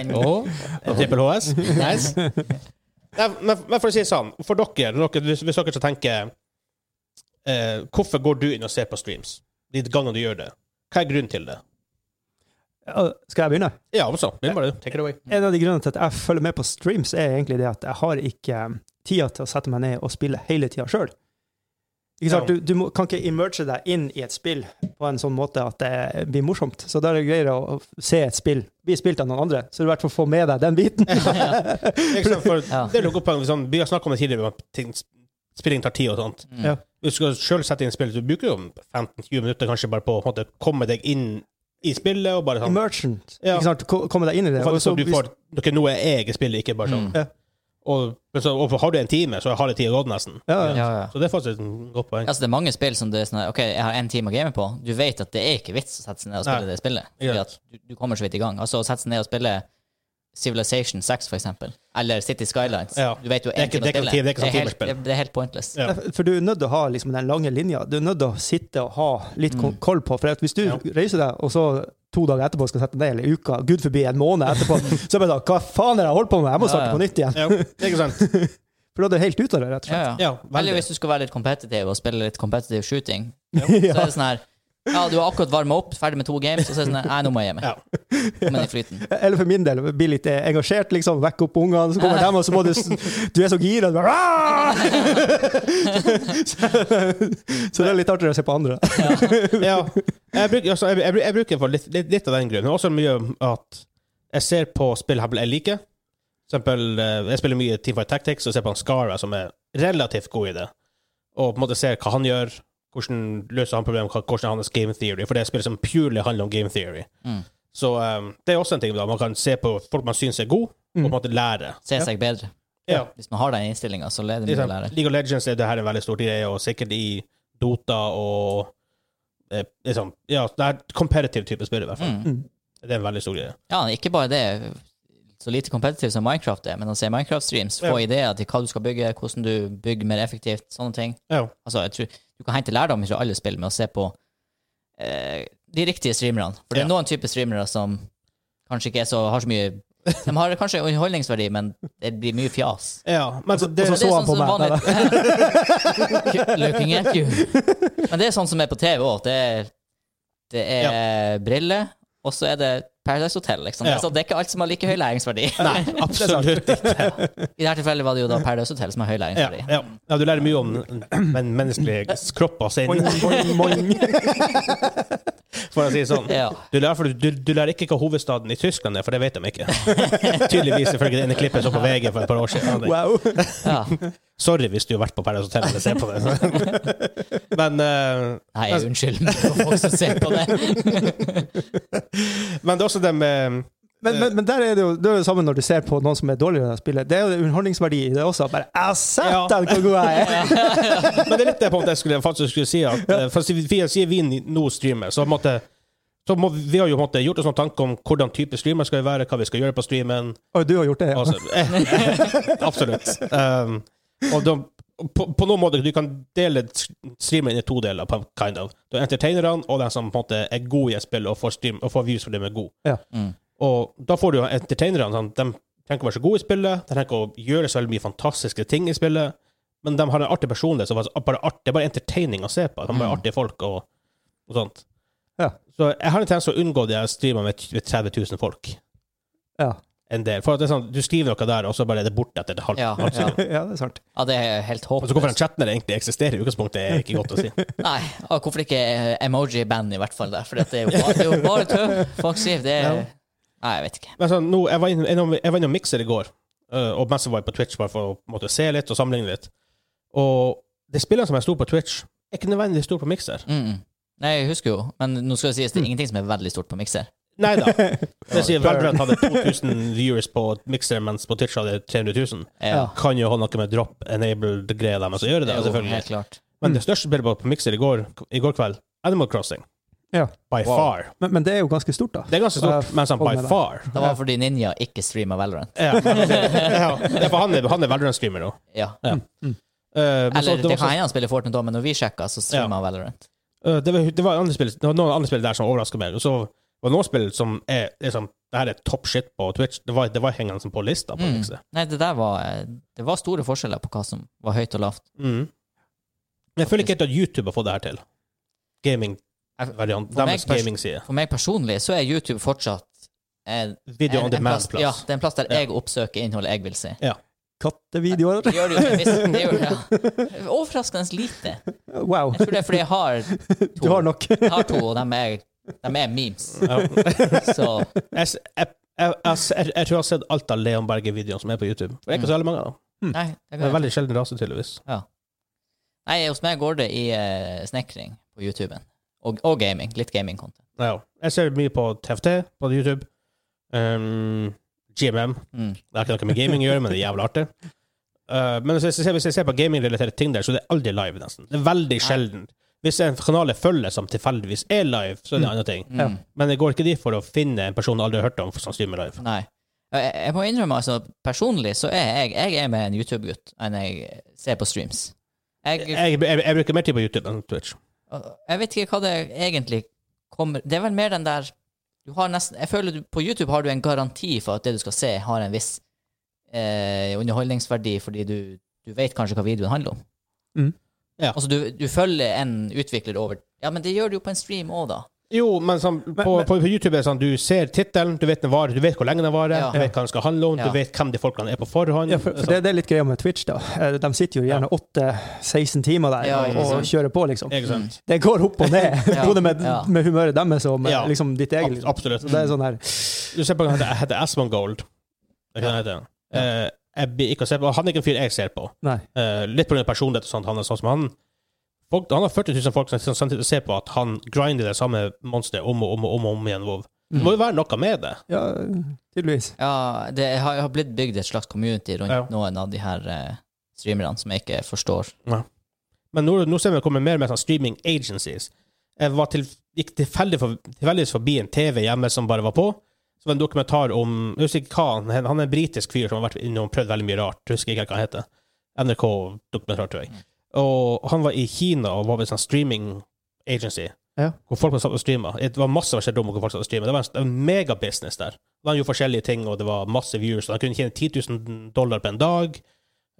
En- Å, en trippel HS. Nice. Nei, men, men for å si det sånn, for dere, dere hvis, hvis dere skal tenke eh, Hvorfor går du inn og ser på streams? De gangene du gjør det. Hva er grunnen til det? Ja, Skal jeg begynne? Ja, altså. Begynn bare, du. Take it away. En av de grunnene til at jeg følger med på streams, er egentlig det at jeg har ikke um, tida til å sette meg ned og spille hele tida sjøl. Ikke sant? Ja. Du, du må, kan ikke emerge deg inn i et spill på en sånn måte at det blir morsomt. Så da er det greiere å å se et spill bli spilt av noen andre, så du i hvert fall får med deg den biten. Ikke sant, for Ja. det er noe godt poeng, sånn, Vi har snakket om det tidligere, at ting- spilling tar tid og sånt. Mm. Ja. Hvis du skal selv sette inn spill, så bruker du jo 15-20 minutter kanskje bare på å på en måte, komme deg inn i spillet, og bare sånn Emergent. Ja. Ikke sant? Ko- Komme deg inn i det. Og faktisk så at du hvis- får Dere, nå er jeg i spillet, ikke bare sånn. Mm. Ja. Og, men så, og har du en time, så har halve tida gått, nesten. Ja, Ja, ja. Så det er faktisk et godt poeng. Altså, det er mange spill som det er sånn OK, jeg har én time å game på. Du vet at det er ikke vits å sette seg ned og spille Nei. det spillet. Ikke Fordi sant. at du, du kommer så vidt i gang. Altså, å sette seg ned og spille Civilization 6, for eksempel, eller City Skylines Ja. Du vet jo er én ikke- time å det er ikke spille. tid- det er ikke sånn helt, timerspill. det- det er helt pointless. Ja. Nei, Eh, For du er nødt til å ha liksom, den lange linja. Du er nødt til å sitte og ha litt Mm. koll på. For at hvis du Ja. reiser deg, og så to dager etterpå skal sette deg ned, eller uka, gud forbi en måned etterpå, så er det bare sånn Hva faen er det jeg holder på med? Jeg må Ja, starte ja. på nytt igjen. Ja, ikke sant? For da er du helt ute av det, rett og Ja, slett. ja. Ja, Eller veldig. hvis du skal være litt kompetitiv og spille litt competitive shooting, så Ja. er det sånn her Ja, du har akkurat varma opp, ferdig med to games, og så er det sånn her Nei, nå må jeg gi meg. Ja. Komme inn i flyten. Eller for min del, bli litt eh, engasjert, liksom. Vekke opp ungene, så kommer de, og så må du s- Du er så gira. du bare, «Ah!» Så det er litt artigere å se på andre. Ja. Jeg bruker, altså, jeg, jeg, bruker- jeg bruker for litt, litt, litt av den grunnen, men også mye at jeg ser på spill jeg liker, eksempel, eh, jeg spiller mye Team Fight Tactics og ser på han Skara, som er relativt god i det, og på en måte ser hva han gjør, hvordan løser han problemet, hva- hvordan er hans game theory, for det er spill som purely handler om game theory. Mm. Så eh, det er også en ting, da. Man kan se på folk man syns er gode, og på en måte lære. Se seg bedre. Ja. Hvis man har den innstillinga, så leder mye å Liksom, lære. League of Legends er det her en veldig stor greie, og sikkert i Dota og eh, liksom, Ja, det er et competitive type spill, i hvert fall. Mm. Det er en veldig stor greie. Ja, ikke bare det. Så lite kompetitivt som Minecraft er, men å se Minecraft-streams, få ideer til hva du skal bygge, hvordan du bygger mer effektivt, sånne ting. Ja. Altså, jeg tror Du kan hente lærdom fra alle spill med å se på eh, de riktige streamerne. For det er Ja. noen typer streamere som kanskje ikke er så, har så mye De har kanskje underholdningsverdi, men det blir mye fjas. ja men så det, og Men det er så han sånn på som meg, vanlig- Looking at you. Men det er sånn som er på TV òg. Det er, det er briller, og så er det Paradise Hotel. Liksom. Ja. Så det er ikke alt som har like høy læringsverdi. Nei, absolutt ikke. I dette tilfellet var det jo da Paradise Hotel som har høy Ja, læringsverdi. ja. ja, du lærer mye om men menneskelige kropper Boing, sine, boing, boing. for å si det sånn. Ja. Du lærer, for du, du lærer ikke hva hovedstaden i Tyskland er, for det vet de ikke. Tydeligvis ifølge det ene klippet jeg så på VG for et par år siden. Wow. Ja. Sorry hvis du har vært på Paradise Hotel eller ser på det. men, eh, Nei, unnskyld for folk som ser på det. men det er også det med Eh. Men, men, men der er det jo det er jo det samme når du ser på noen som er dårligere til å spille. Det er jo underholdningsverdi i det også. Bare «Jeg har sett den, hvor god jeg er! Men det er litt det punktet jeg skulle, faktisk skulle si. At, eh, for siden vi- siden vi nå streamer, så, på en måte, så må, vi har jo på en måte gjort oss noen tanker om hvordan type streamer skal vi være, hva vi skal gjøre på streamen. Og du har gjort det, ja. Altså, eh, absolutt. Um, og da, på, på noen måte, du kan dele streamen i to deler, på- kind of. Du har entertainerne og den som på en måte er god i et spill og får, stream, og får views for dem er god. Ja. Mm. Og da får du jo entertainerne. Sånn, de trenger ikke å være så gode i spillet, de trenger ikke å gjøre så veldig mye fantastiske ting i spillet, men de har en artig personlighet. Så bare art, det er bare entertaining å se på. De er bare Mm. artige folk og, og sånt. Ja. Så jeg har en tendens til å unngå de her streamene med t- med 30 000 folk. Ja, En del. For at det er sånn, du skriver noe der, og så bare er det borte etter et halvt Ja, ja. ja det er sant. ja, det er helt Altså Hvorfor den håpløst. chatten der egentlig eksisterer i utgangspunktet, er ikke godt å si. Nei, og hvorfor ikke eh, emoji-band, i hvert fall? Der? For det er jo bare, det er jo bare tøv. Folk sier det er Nei, jeg vet ikke. Men sånn, nå, jeg var innom- innom jeg var innom Mixer i går, øh, og mens jeg var på Twitch, bare for å på en måte, se litt og sammenligne litt. Og de spillene som er store på Twitch, er ikke nødvendigvis store på Mixer. Mm. mm. Nei, jeg husker jo, men nå skal det sies det er ingenting som er veldig stort på mikser. Nei da. Det sier Valbrand hadde 2000 viewers på Mixer, mens på Twitch hadde 300 000. Ja. Kan jo ha noe med drop-enabled-greia deres å gjøre det, Jo, selvfølgelig. Helt klart. Mm. Men det største spillet på på Mixer i går, i går kveld, Animal Crossing. Ja. By Wow. far. Men, men det er jo ganske stort, da. Det er ganske stort, men sånn Hold by med deg. far. Det var fordi Ninja ikke streama Valorant. Ja, ja. Ja, for han er, han er Valorant-streamer nå. Ja. Eh, men så- Eller det det var kan også- hende han spiller Fortnite òg, men når vi sjekka, så streama han Valorant. eh, det var- det var andre spill- det var noen andre spill der som overraska meg. Og så var det noen spill som er liksom Det her er top shit på Twitch. Det var, det var hengende som på lista. på Mm. Mixer. Nei, det der var eh, Det var store forskjeller på hva som var høyt og lavt. Mm. Men jeg føler ikke helt at YouTube har fått det her til. Jeg- Gaming-variant. for meg Deres pers- gaming-side. For meg personlig så er YouTube fortsatt en, Video on en, en plass, demand-plass. Ja, det er en plass der Ja. jeg oppsøker innholdet jeg vil se. Kattevideoer. Det gjør det jo det visst- det gjør, ja. Overraskende lite. Wow. Jeg tror det er fordi jeg har to. Du har nok. Jeg har to, og de er, de er memes. Så Jeg, s- jeg, jeg, jeg, s- jeg, jeg tror jeg har sett alt av Leon Berge-videoene som er på YouTube. For det er ikke så Mm. veldig mange av dem. Nei, det Det er kan jeg. veldig sjelden rase, tydeligvis. Nei, hos meg går det i eh, snekring på YouTuben. Og, og gaming. Litt gaming-content. Ja. Jeg ser mye på TFT på YouTube. Um, GMM. Mm. Det har ikke noe med gaming å gjøre, men det er jævla artig. Uh, men hvis jeg, ser, hvis jeg ser på gaming-relaterte ting der, så det er aldri live, nesten. Det er veldig sjelden. Hvis en kanal jeg følger som tilfeldigvis er live, så er det en annen ting. Mm. Ja. Men jeg går ikke dit for å finne en person jeg aldri har hørt om, som streamer live. Nei. Jeg, jeg må innrømme, altså, personlig så er jeg, jeg er med en YouTube-gutt enn jeg ser på streams. Jeg, jeg, Jeg, jeg, jeg bruker mer tid på YouTube enn Twitch. vet ikke hva det egentlig kommer Det er vel mer den der du har nesten, Jeg føler du, på YouTube har du en garanti for at det du skal se, har en viss eh, underholdningsverdi, fordi du, du vet kanskje hva videoen handler om. Mm. Ja. Altså, du, du følger en utvikler over Ja, men det gjør du jo på en stream òg, da. Jo, men, sånn, på, men- på YouTube er det sånn du ser tittelen, du vet den varer, du vet hvor lenge den varer, Ja. du vet hva den skal handle om, Ja. du vet hvem de folkene er på forhånd. Sånn. Ja, for, for det, det er litt greia med Twitch, da. Eh, De sitter jo gjerne 8-16 timer der Ja, og, ikke og kjører på, liksom. Ikke sant? Det går opp og ned, Ja, både med, ja. med humøret deres og med Ja. liksom ditt eget. Ab- Liksom. Absolutt. Så det er sånn her Du ser på hva han heter, heter Asmongold. Hva heter han? Eh, jeg blir ikke å se på. Han er ikke en fyr jeg ser på. Nei. Eh, litt pga. personlighet og sånt. Han er sånn som han folk, Han har 40 000 folk som samtidig ser på at han grinder det samme monsteret om og om og om, og om igjen. WoW. Det må jo være noe med det. Ja, tydeligvis. Ja, det har, har blitt bygd et slags community rundt Ja. noen av de her eh, streamerne som jeg ikke forstår. Men nå, nå ser vi det kommer mer og mer sånn streaming agencies. Jeg var til, gikk tilfeldig for, tilfeldigvis forbi en TV hjemme som bare var på. Så var det en dokumentar om Jeg husker ikke hva han het. Han er en britisk fyr som har vært inne og prøvd veldig mye rart. Jeg husker ikke hva han heter. NRK-dokumentar, tror Mm. jeg. Og han var i Kina og var ved en sånn streaming agency. Ja. Hvor folk satt og streama. Det var masse forskjellige rom hvor folk satt og streama. Det var en, det var en megabusiness der. Han gjorde forskjellige ting, og det var masse viewers. og Han kunne tjene 10 000 dollar på en dag.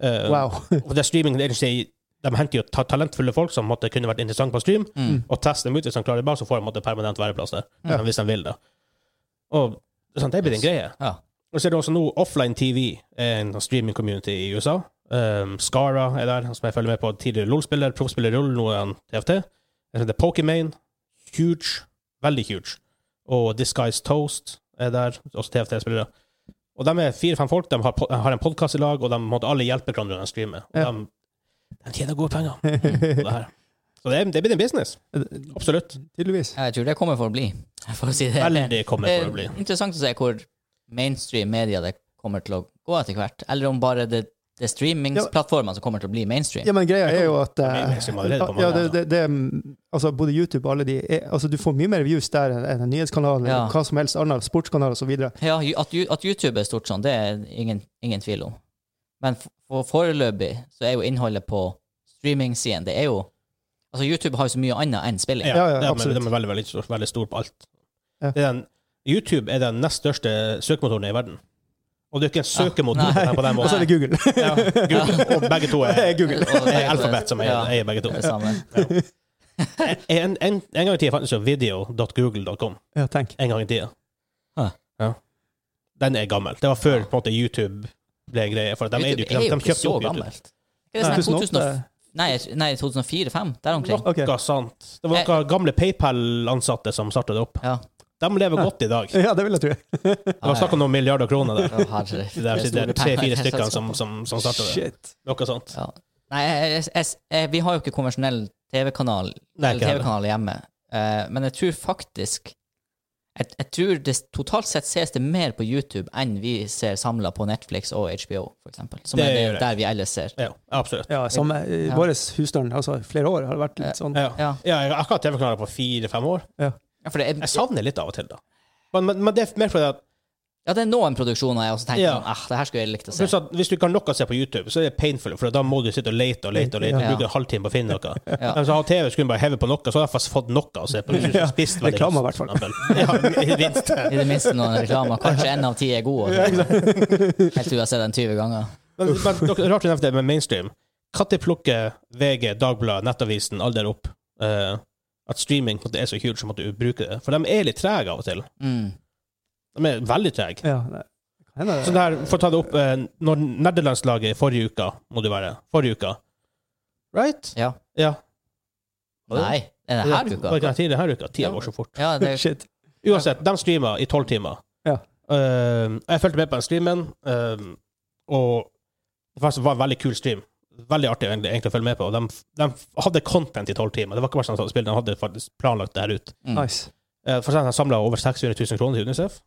Eh, Wow. og det er streaming agency, de henter jo ta talentfulle folk som måtte kunne vært interessante på stream, Mm. og tester dem ut. Hvis de klarer det bra, så får de måtte permanent væreplass der. Ja. Hvis de vil det. Og det er sant, det blir en Yes. greie. Ja. Og så er det også nå offline TV, en streaming community i USA. Um, Skara er der, som jeg følger med på. Tidligere LOL-spiller, proffspiller i LOL, nå er han TFT. Det heter Pokimane. Huge. Veldig huge. Og Disguised Toast er der, også TFT-spillere. Og de er fire-fem folk, de har, po- har en podkast i lag, og de måtte alle hjelpe hverandre når de streamer. Og Ja. de, de tjener gode penger på det her. Så det, er- det blir en business. Absolutt. tydeligvis. Jeg tror det kommer for å bli, for å si det. Veldig kommer Det for er å bli. interessant å se hvor mainstream media det kommer til å gå etter hvert, eller om bare det, det er streamingsplattformene som kommer til å bli mainstream. Ja, men greia er jo at blir eh, mainstream allerede på mange ja, det, det, det, altså, Både YouTube og alle de er, altså, Du får mye mer views der enn enn en nyhetskanal, Ja. hva som helst annet, sportskanal osv. Ja, ju- at, ju- at YouTube er stort sånn, det er ingen, ingen tvil om. Men f- for foreløpig så er jo innholdet på streaming-siden, det er jo Altså, YouTube har jo så mye annet enn spilling. Ja, Ja, ja, de er- absolutt. De er veldig, veldig, stor, veldig stor på alt. Ja. Det er den, YouTube er den nest største søkemotoren i verden. Og det er ikke en søkemotor Ja, på den Og så måten. er det Google. Ja, Google, og begge to Det er er, Google. Og det er Alphabet som eier, ja, eier begge to. det samme. En, en, en gang i tida fantes jo video.google.com. Ja, tenk. En gang i tida. Hæ. Ja. Den er gammel. Det var før på en måte, YouTube ble en greie. For de, eide jo ikke- de, de kjøpte jo så opp YouTube. gammelt. Er det sånn 2008. 2000, nei, nei 2004-2005, der omkring. Ok. Noe sant. Det var Eh. noen gamle PayPal-ansatte som startet det opp. Ja. De lever godt i dag. Ja, det vil jeg tro. Det var snakk om noen milliarder kroner der. Å, herre. Det er, det er store penger i tre-fire det stykker selskapet. som, som, som Sånn starter det. Shit. Noe sånt. Ja. Nei, jeg, jeg, jeg, jeg, vi har jo ikke konvensjonell TV-kanal Nei, eller ikke heller. TV-kanal hjemme, Eh, men jeg tror faktisk jeg, jeg tror det s- totalt sett ses det mer på YouTube enn vi ser samla på Netflix og HBO, for eksempel. Som Det er det, gjør jeg. der vi ellers ser. Ja, absolutt. Ja, samme. I Ja. vår husstand, altså i flere år, har det vært litt sånn. Ja. Ja. Ja, jeg har akkurat TV-kanaler på fire-fem år. Ja, for det er, Jeg savner litt av og til, da. Men, men, men det er mer fordi at, ja, det er noen produksjoner jeg også tenker Ja. sånn, ah, det her skulle jeg likt å se. pluss sånn at hvis du ikke har nok å se på YouTube, så er det painful, for da må du sitte og lete og lete og lete og Ja. bruke en halvtime på å finne noe. Ja. Men så har TV, skulle bare heve på noe, så har jeg faktisk fått noe å se på. Hvis du Ja, spist veldig reklame i godt, hvert fall. for eksempel. Ja, i minst. I det minste noen reklamer. Kanskje én av ti er god. Helt til du har sett den 20 ganger. Men, men dere- rart du nevnte det med mainstream. Når plukker VG, Dagbladet, Nettavisen, all der opp eh, at streaming på en måte er så huge som at du bruker det? For de er litt trege av og til. Mm. De er veldig trege. Ja, det kan hende Så det. det her, for å ta det opp eh, Når nederlandslaget forrige uka, må det være. Forrige uka. Right? Ja. Ja. Nei, er det her uka? Var ikke den tidligere her uka? Tida Ja. går så fort. Ja, det, Shit. Uansett, de streamer i tolv timer. Ja. Eh, jeg fulgte med på den streamen, eh, og det faktisk var en veldig kul stream. Veldig artig egentlig, egentlig å følge med på. Og De, de hadde content i tolv timer. Det var ikke bare sånn at de spilte, de hadde faktisk planlagt det her ut. mm. Nice. Eh, for eksempel, De samla over 600 000 kroner til UNICEF.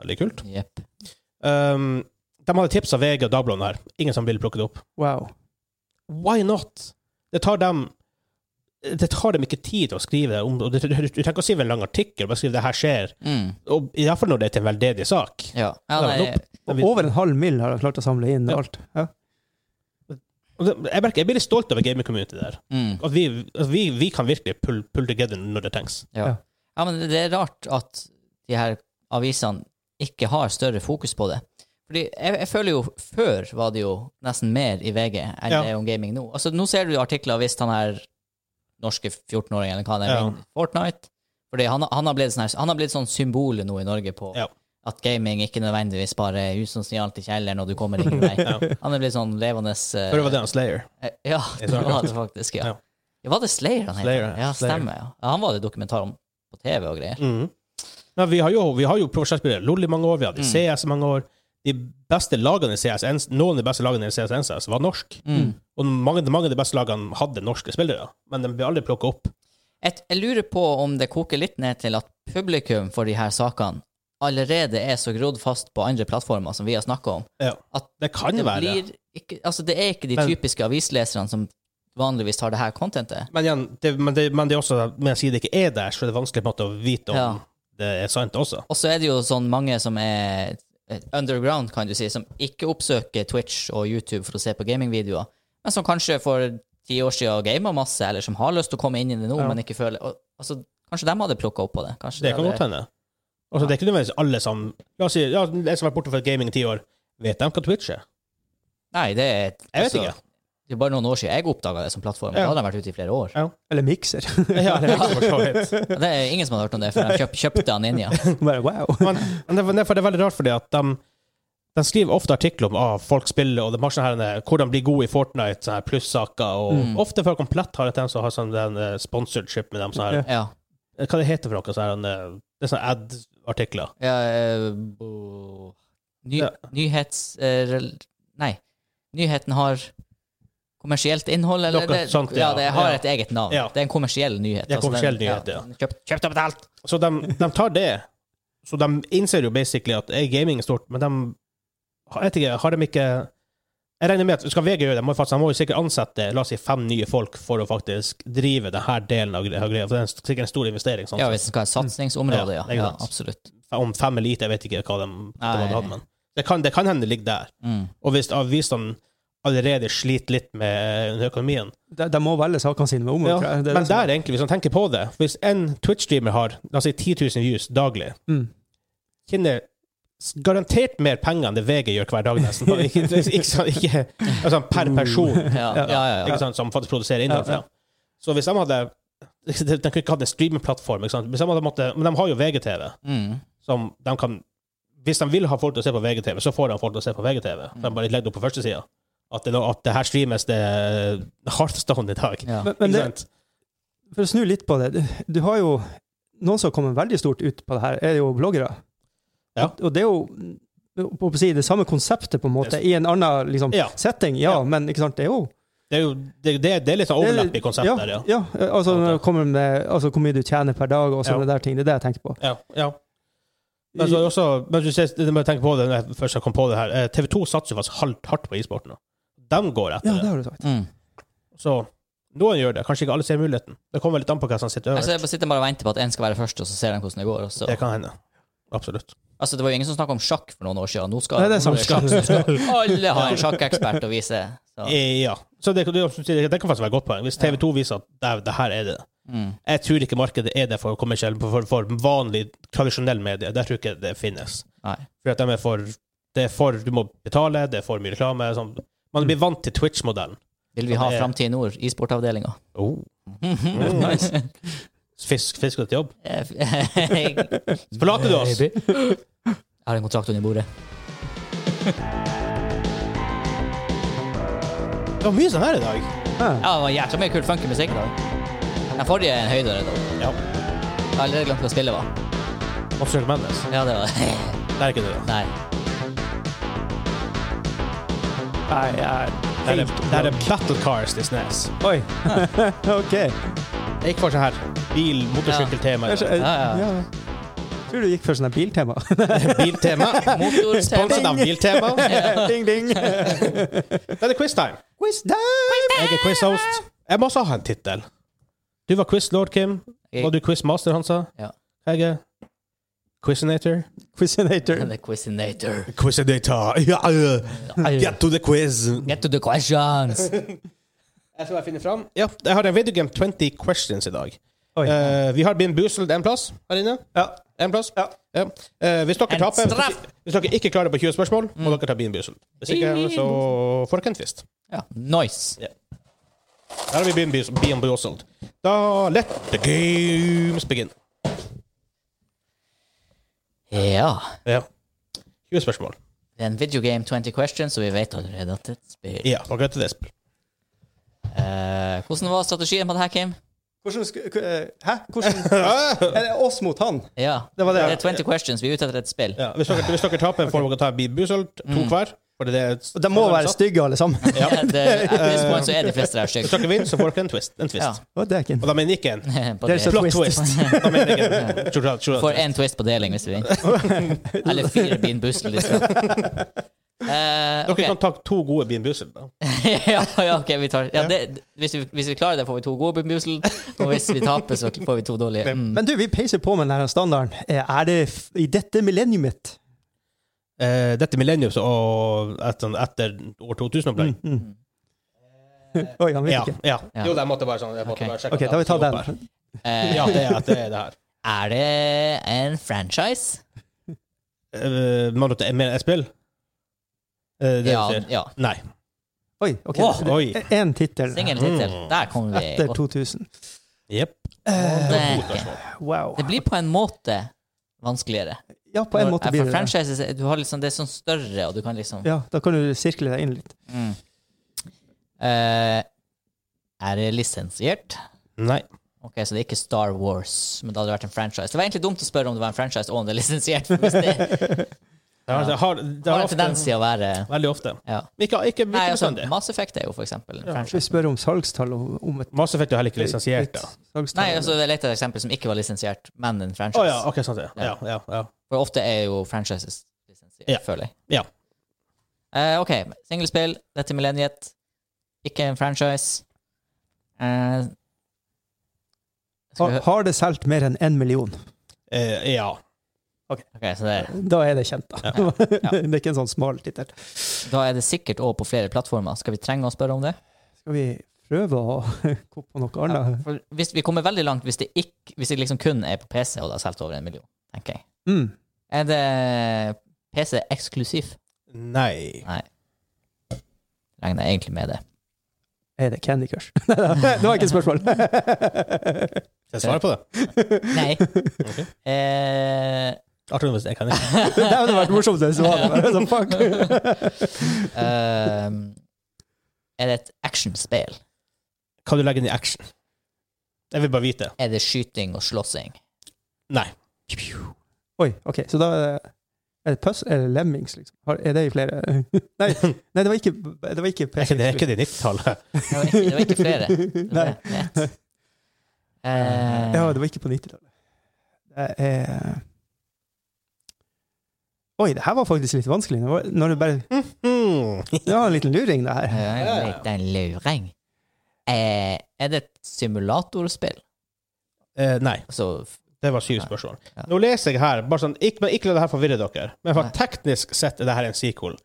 Veldig kult. Jepp. Eh, de hadde tips av VG og Dagbladet om det her. Ingen som ville plukke det opp. Wow. Why not? Det tar dem det tar dem ikke tid til å skrive det om og Du du- du trenger ikke å skrive en lang artikkel, bare skrive 'det her skjer'. Mm. Og Iallfall når det er til en veldedig sak. Ja. ja Ja, nei, nope. Og over en halv mil har jeg klart å samle inn Ja. alt. Ja. Og det- altså, Jeg, merker, jeg blir litt stolt over gaming-community der. mm. At vi, at vi, vi kan virkelig pull, pull together når det trengs. ja. Ja. ja, men det er rart at de her avisene ikke har større fokus på det. Fordi jeg, jeg føler jo før var det jo nesten mer i VG enn Ja. det er om gaming nå. Altså, nå ser du jo artikler hvis han her norske 14-åringen eller hva det er, Ja. vinner Fortnite. Fordi han, han, har blitt sånn her, han har blitt sånn symbol nå i Norge på Ja. at gaming ikke nødvendigvis bare er usosialt i kjelleren og du kommer ingen vei. Ja. Han er blitt sånn levende eh, Før var det en Slayer. Eh, Ja, Jeg det tror det. var det faktisk, ja. Ja. ja. Var det Slayer han het? Slayer, ja. Ja, Slayer. stemmer. Ja. Ja, han var det dokumentar om på TV og greier. Mm. Mhm. Men vi har jo, vi har jo profesjonsspillere LOL i mange år, vi hadde Mm. CS i mange år. de beste lagene i CSN, noen av de beste lagene i CSNCS var norsk. Mm. Og mange, mange av de beste lagene hadde norske spillere, men de ble aldri plukka opp. Et, jeg lurer på om det koker litt ned til at publikum for de her sakene allerede er så grodd fast på andre plattformer som vi har snakka om. Ja. At Det kan det, være. blir ikke, altså det er ikke de Men- typiske avisleserne som vanligvis har det her contentet. Men igjen, det, men det, men det er også, men jeg sier det ikke er der, så er det vanskelig på en måte å vite om Ja. det er sant også. Og så er det jo sånn mange som er eh, underground, kan du si, som ikke oppsøker Twitch og YouTube for å se på gamingvideoer, men som kanskje for ti år siden gama masse, eller som har lyst til å komme inn i det nå, Ja. men ikke føler og, altså, Kanskje de hadde plukka opp på det. Kanskje Det kan hadde- godt hende. Altså, det er ikke nødvendigvis alle som La oss si ja, en som har vært borte fra gaming i ti år, vet de hva Twitch er? Nei, det er altså, Jeg vet ikke. Det er bare noen år siden jeg oppdaga det som plattform. Ja. Da hadde de vært ute i flere år. Eller mikser. Ja, det er ikke for så vidt. Og Det er ingen som hadde hørt om det, for de kjøp, kjøpte han inn, ja. Bare wow. Men, men det, er- for det er veldig rart, fordi at de, de skriver ofte artikler om ah, folk spiller, og de har sånne her, eh, hvordan bli god i Fortnite, sånne her plussaker, og ofte for komplett har det dem som har sånn den eh, sponsorship med dem. Sånne, her- ja. Hva det heter for noe? Sånne, her, eh, det er sånne ad-artikler. ja eh, bo- ny, Ja. Nyhets... eh, rel- Nei. Nyheten har kommersielt innhold, eller? Noe sånt, ja. ja. det har Ja. et eget navn. Ja. Det er en kommersiell nyhet. Det er en altså, kommersiell den- nyhet, ja. Kjøpt, kjøpt og betalt! Så de, de tar det. Så de innser jo basically at eh, gaming er stort, men de jeg vet ikke, har de ikke Jeg regner med at skal VG gjøre det, må jo faktisk, de må jo sikkert ansette la oss si, fem nye folk for å faktisk drive denne delen av gre- av greia. For det er en- sikkert en stor investering. Sånn. Ja, sett. hvis det skal være et satsingsområde, ja. Ja, ikke ja sant. absolutt. Om fem elite, jeg vet ikke hva de, hva de Nei. hadde hatt, men det kan, det kan hende det ligger der. Mm. Og hvis avisene allerede sliter litt med eh, økonomien De, de må velge sakene sine med omhu. ja, tror jeg. Det er Men det som- der, egentlig, hvis man tenker på det Hvis en Twitch-streamer har la oss si 10 000 views daglig, Mm. tjener s- garantert mer penger enn det VG gjør hver dag, nesten. Og Ikke, ikke, sånn- ikke, altså, per person, Ja, ja, ja. ja. ikke sant, som faktisk produserer innhold. Mm. Ja, ja. for dem. Så hvis de hadde De de kunne ikke hatt en streamingplattform, ikke sant? Hvis de hadde måtte, men de har jo VGTV, Mm. som de kan Hvis de vil ha folk til å se på VGTV, så får de folk til å se på VGTV. De Mm. bare legger det opp på førstesida. At, det nå- at det her streames det Hearthstone i dag. ja. men, men ikke det, sant? for å snu litt på det. Du, du har jo Noen som kommer veldig stort ut på det her, er jo bloggere. Ja. Og, og det er jo mm, på å si, det samme konseptet, på en måte, i en annen liksom, Ja. setting. Ja, Ja. men ikke sant, det er jo Det er jo det, det, det er litt sånn overlapp i konseptet ja, der, ja. ja. altså, når det kommer med, altså hvor mye du tjener per dag og sånne Ja. der ting. Det er det jeg tenker på. ja, ja. Men så er det også, men du ser, du må tenke på det når jeg først jeg kom på det her. eh, TV 2 satser jo faktisk halvt hardt på e-sport nå. De går Ja, etter det det. har du sagt. Mm. Så noen gjør det. Kanskje ikke alle ser muligheten. Det kommer litt an på hva som sitter Altså, øverst. jeg bare sitter bare og venter på at en skal være først, og så ser de hvordan det går. Og så. Det kan hende. Absolutt. Altså, det var jo ingen som snakka om sjakk for noen år siden. Nå skal Nei, det er nå sant. sjakk som skal Alle har en sjakkekspert å vise. Så. Eh, Ja. Så det, det, det kan faktisk være et godt poeng. Hvis TV 2 viser at det, det her er det. Mm. Jeg tror ikke markedet er det for kommersiell, for, for vanlig, tradisjonell medie. Der tror jeg ikke det finnes. Nei. Fordi at de er for, det er for Du må betale, det er for mye reklame. Sånn. Man blir vant til Twitch-modellen. Vil vi ha Det er- Framtid Nord, e-sportavdelinga? Oh. Fisk, fisk ut til jobb. Jeg jeg Forlater du oss? har en kontrakt under bordet. Det var mye sånn her i dag. Ja. Ja, det var jækla mye kul funky musikk i dag. Den forrige er en høydere, da. Ja. Jeg har allerede glemt hva spillet var. Absolutt Mendes. Ja, det var Det er ikke det. da. Nei. Nei, jeg Det er, det er Battle Cars til SNES. Oi. OK. Jeg gikk for sånn her bil, motorsykkeltema. Jeg, Ja. jeg, ja. ja. tror du gikk for sånn her biltema. Biltema. Motortema. Sponset av Biltema. ding, ding. Da er det quiztime. Quiz time! Jeg er quizhost. Jeg må også ha en tittel. Du var quizlord, Kim. Jeg- Var du quizmaster, Hansa? Ja. Jeg er quizinator. Quizinator. Men The Quizinator. Quizinator. Ja, Get to the quiz. Get to the questions. Jeg tror jeg finner fram. Ja, jeg har en videogame 20 questions i dag. Oi. Eh, vi har been boozled en plass her inne. Ja. En plass. Ja. Eh, hvis, dere En taper, straff! Mm. hvis dere ikke klarer på 20 spørsmål, må dere ta been boozled. Hvis ikke, så får dere en twist. Ja, nice. Der har vi been boozled. Been boozled. Da let the games begin. Ja. Ja. 20 spørsmål. Det er en videogame 20 questions, så vi vet allerede at det er et spill. Ja, dere vet det. Espen. Eh, hvordan var strategien på det her, Kim? Hvordan sku- k- eh, Hæ? Hvordan Er det oss mot han? Ja. Det var det. Det er 20 questions. Vi er ute etter et spill. Ja, hvis, dere, hvis dere taper, får dere ta en bilbussøl, to hver. For det er Og De må være liksom. stygge, alle sammen. Ja. Det, at this point så er de fleste der Hvis stygge. dere vinner, så får dere en twist. En twist. Ja. Å, det er ikke en Og da mener jeg ikke en På There's det. a plot twist. Da mener jeg en chocolate- chocolate Får twist. én twist på deling hvis vi vinner. Eller fire beanbusler, liksom. Eh, Dere ok. kan ta to gode beanbusel. da. ja, ja, ok, vi tar ja, det, hvis, vi, hvis vi klarer det, får vi to gode beanbusler. Og hvis vi taper, så får vi to dårlige. Mm. Men du, vi peiser på med den her standarden. Eh, Er det f i dette millenniumet? Eh, dette millenniums og etter, etter år 2000-opplegg. Oi, han vet Ja, ikke. ja. Ja. Jo, jeg måtte bare sånn. Jeg måtte Ok. bare sjekke OK, at da vi jeg tar skulle opp den. Eh, her. Ja, det er, det, er det her. er det en franchise? Eh, Må du ta mer et spill? Eh, det Ja. du sier? ja. Nei. Oi, OK. Åh, oi. Én tittel Singeltittel. Der kommer vi etter godt. 2000. Jepp. Eh, Wow. Det blir på en måte vanskeligere. Ja, på en måte blir For det det. franchises, du har liksom, det er sånn større, og du kan liksom Ja, da kan du sirkle deg inn litt. mm. Eh, Er det lisensiert? Nei. Ok, Så det er ikke Star Wars, men det hadde vært en franchise. Det var egentlig dumt å spørre om det var en franchise og om det er lisensiert. For hvis det, Det har, det har, det det har har en ofte, tendens til å være veldig ofte. ja. Ikke, ikke, ikke Nei, altså, bestandig. Mass Effect er jo for eksempel en Skal vi franchise. spørre om salgstall og om et Mass Effect er jo heller ikke lisensiert. et da. salgstall? Nei, altså, det er lett et eksempel som ikke var lisensiert, men en Å franchise. ja, ok, sant det. Ja, ja, ja. For ofte er jo franchises lisensiert, Ja. føler jeg. Ja. Eh, ok, singlespill, dette er millenniet, ikke en franchise. Eh, skal vi Ha- hø- Har det solgt mer enn én million? Eh, ja. ok, så det er, Da er det kjent, da. Ja. det er ikke en sånn smal tittel. da er det sikkert over på flere plattformer. Skal vi trenge å spørre om det? Skal vi prøve å gå på noe annet? For hvis vi kommer veldig langt hvis det, ikke, hvis det liksom kun er på PC og det har solgt over en million, tenker jeg. Mm. Er det PC eksklusiv? Nei. Nei. Regner jeg egentlig med det. Er det Candy Crush? Nei da, det var ikke et spørsmål. Skal jeg svare på det? Nei. Ok. Eh, Artig hvis jeg kan ikke. det hadde vært morsomt hvis det var det. Bare sånn, fuck. ehm, er det et actionspill? Kan du legge den i action? Jeg vil bare vite. Er det skyting og slåssing? Nei. Oi, OK, så da er det Puss eller Lemmings, liksom? Har- Er det i flere Nei, nei det var ikke, det var ikke Er ikke det, er ikke det 90-tallet? Det var ikke, det var ikke flere. Det var Nei. ett. Eh, Ja, det var ikke på 90-tallet. Det er Oi, det her var faktisk litt vanskelig. Når, når du bare Mm. Det var en liten luring, det her. eh, litt en luring. Eh, er det et simulatorspill? Eh, nei. Altså Det var syv Nei. spørsmål. Ja. Nå leser jeg her, bare sånn, ikke, men ikke la det her forvirre dere, men for Nei. teknisk sett er det her en sequel.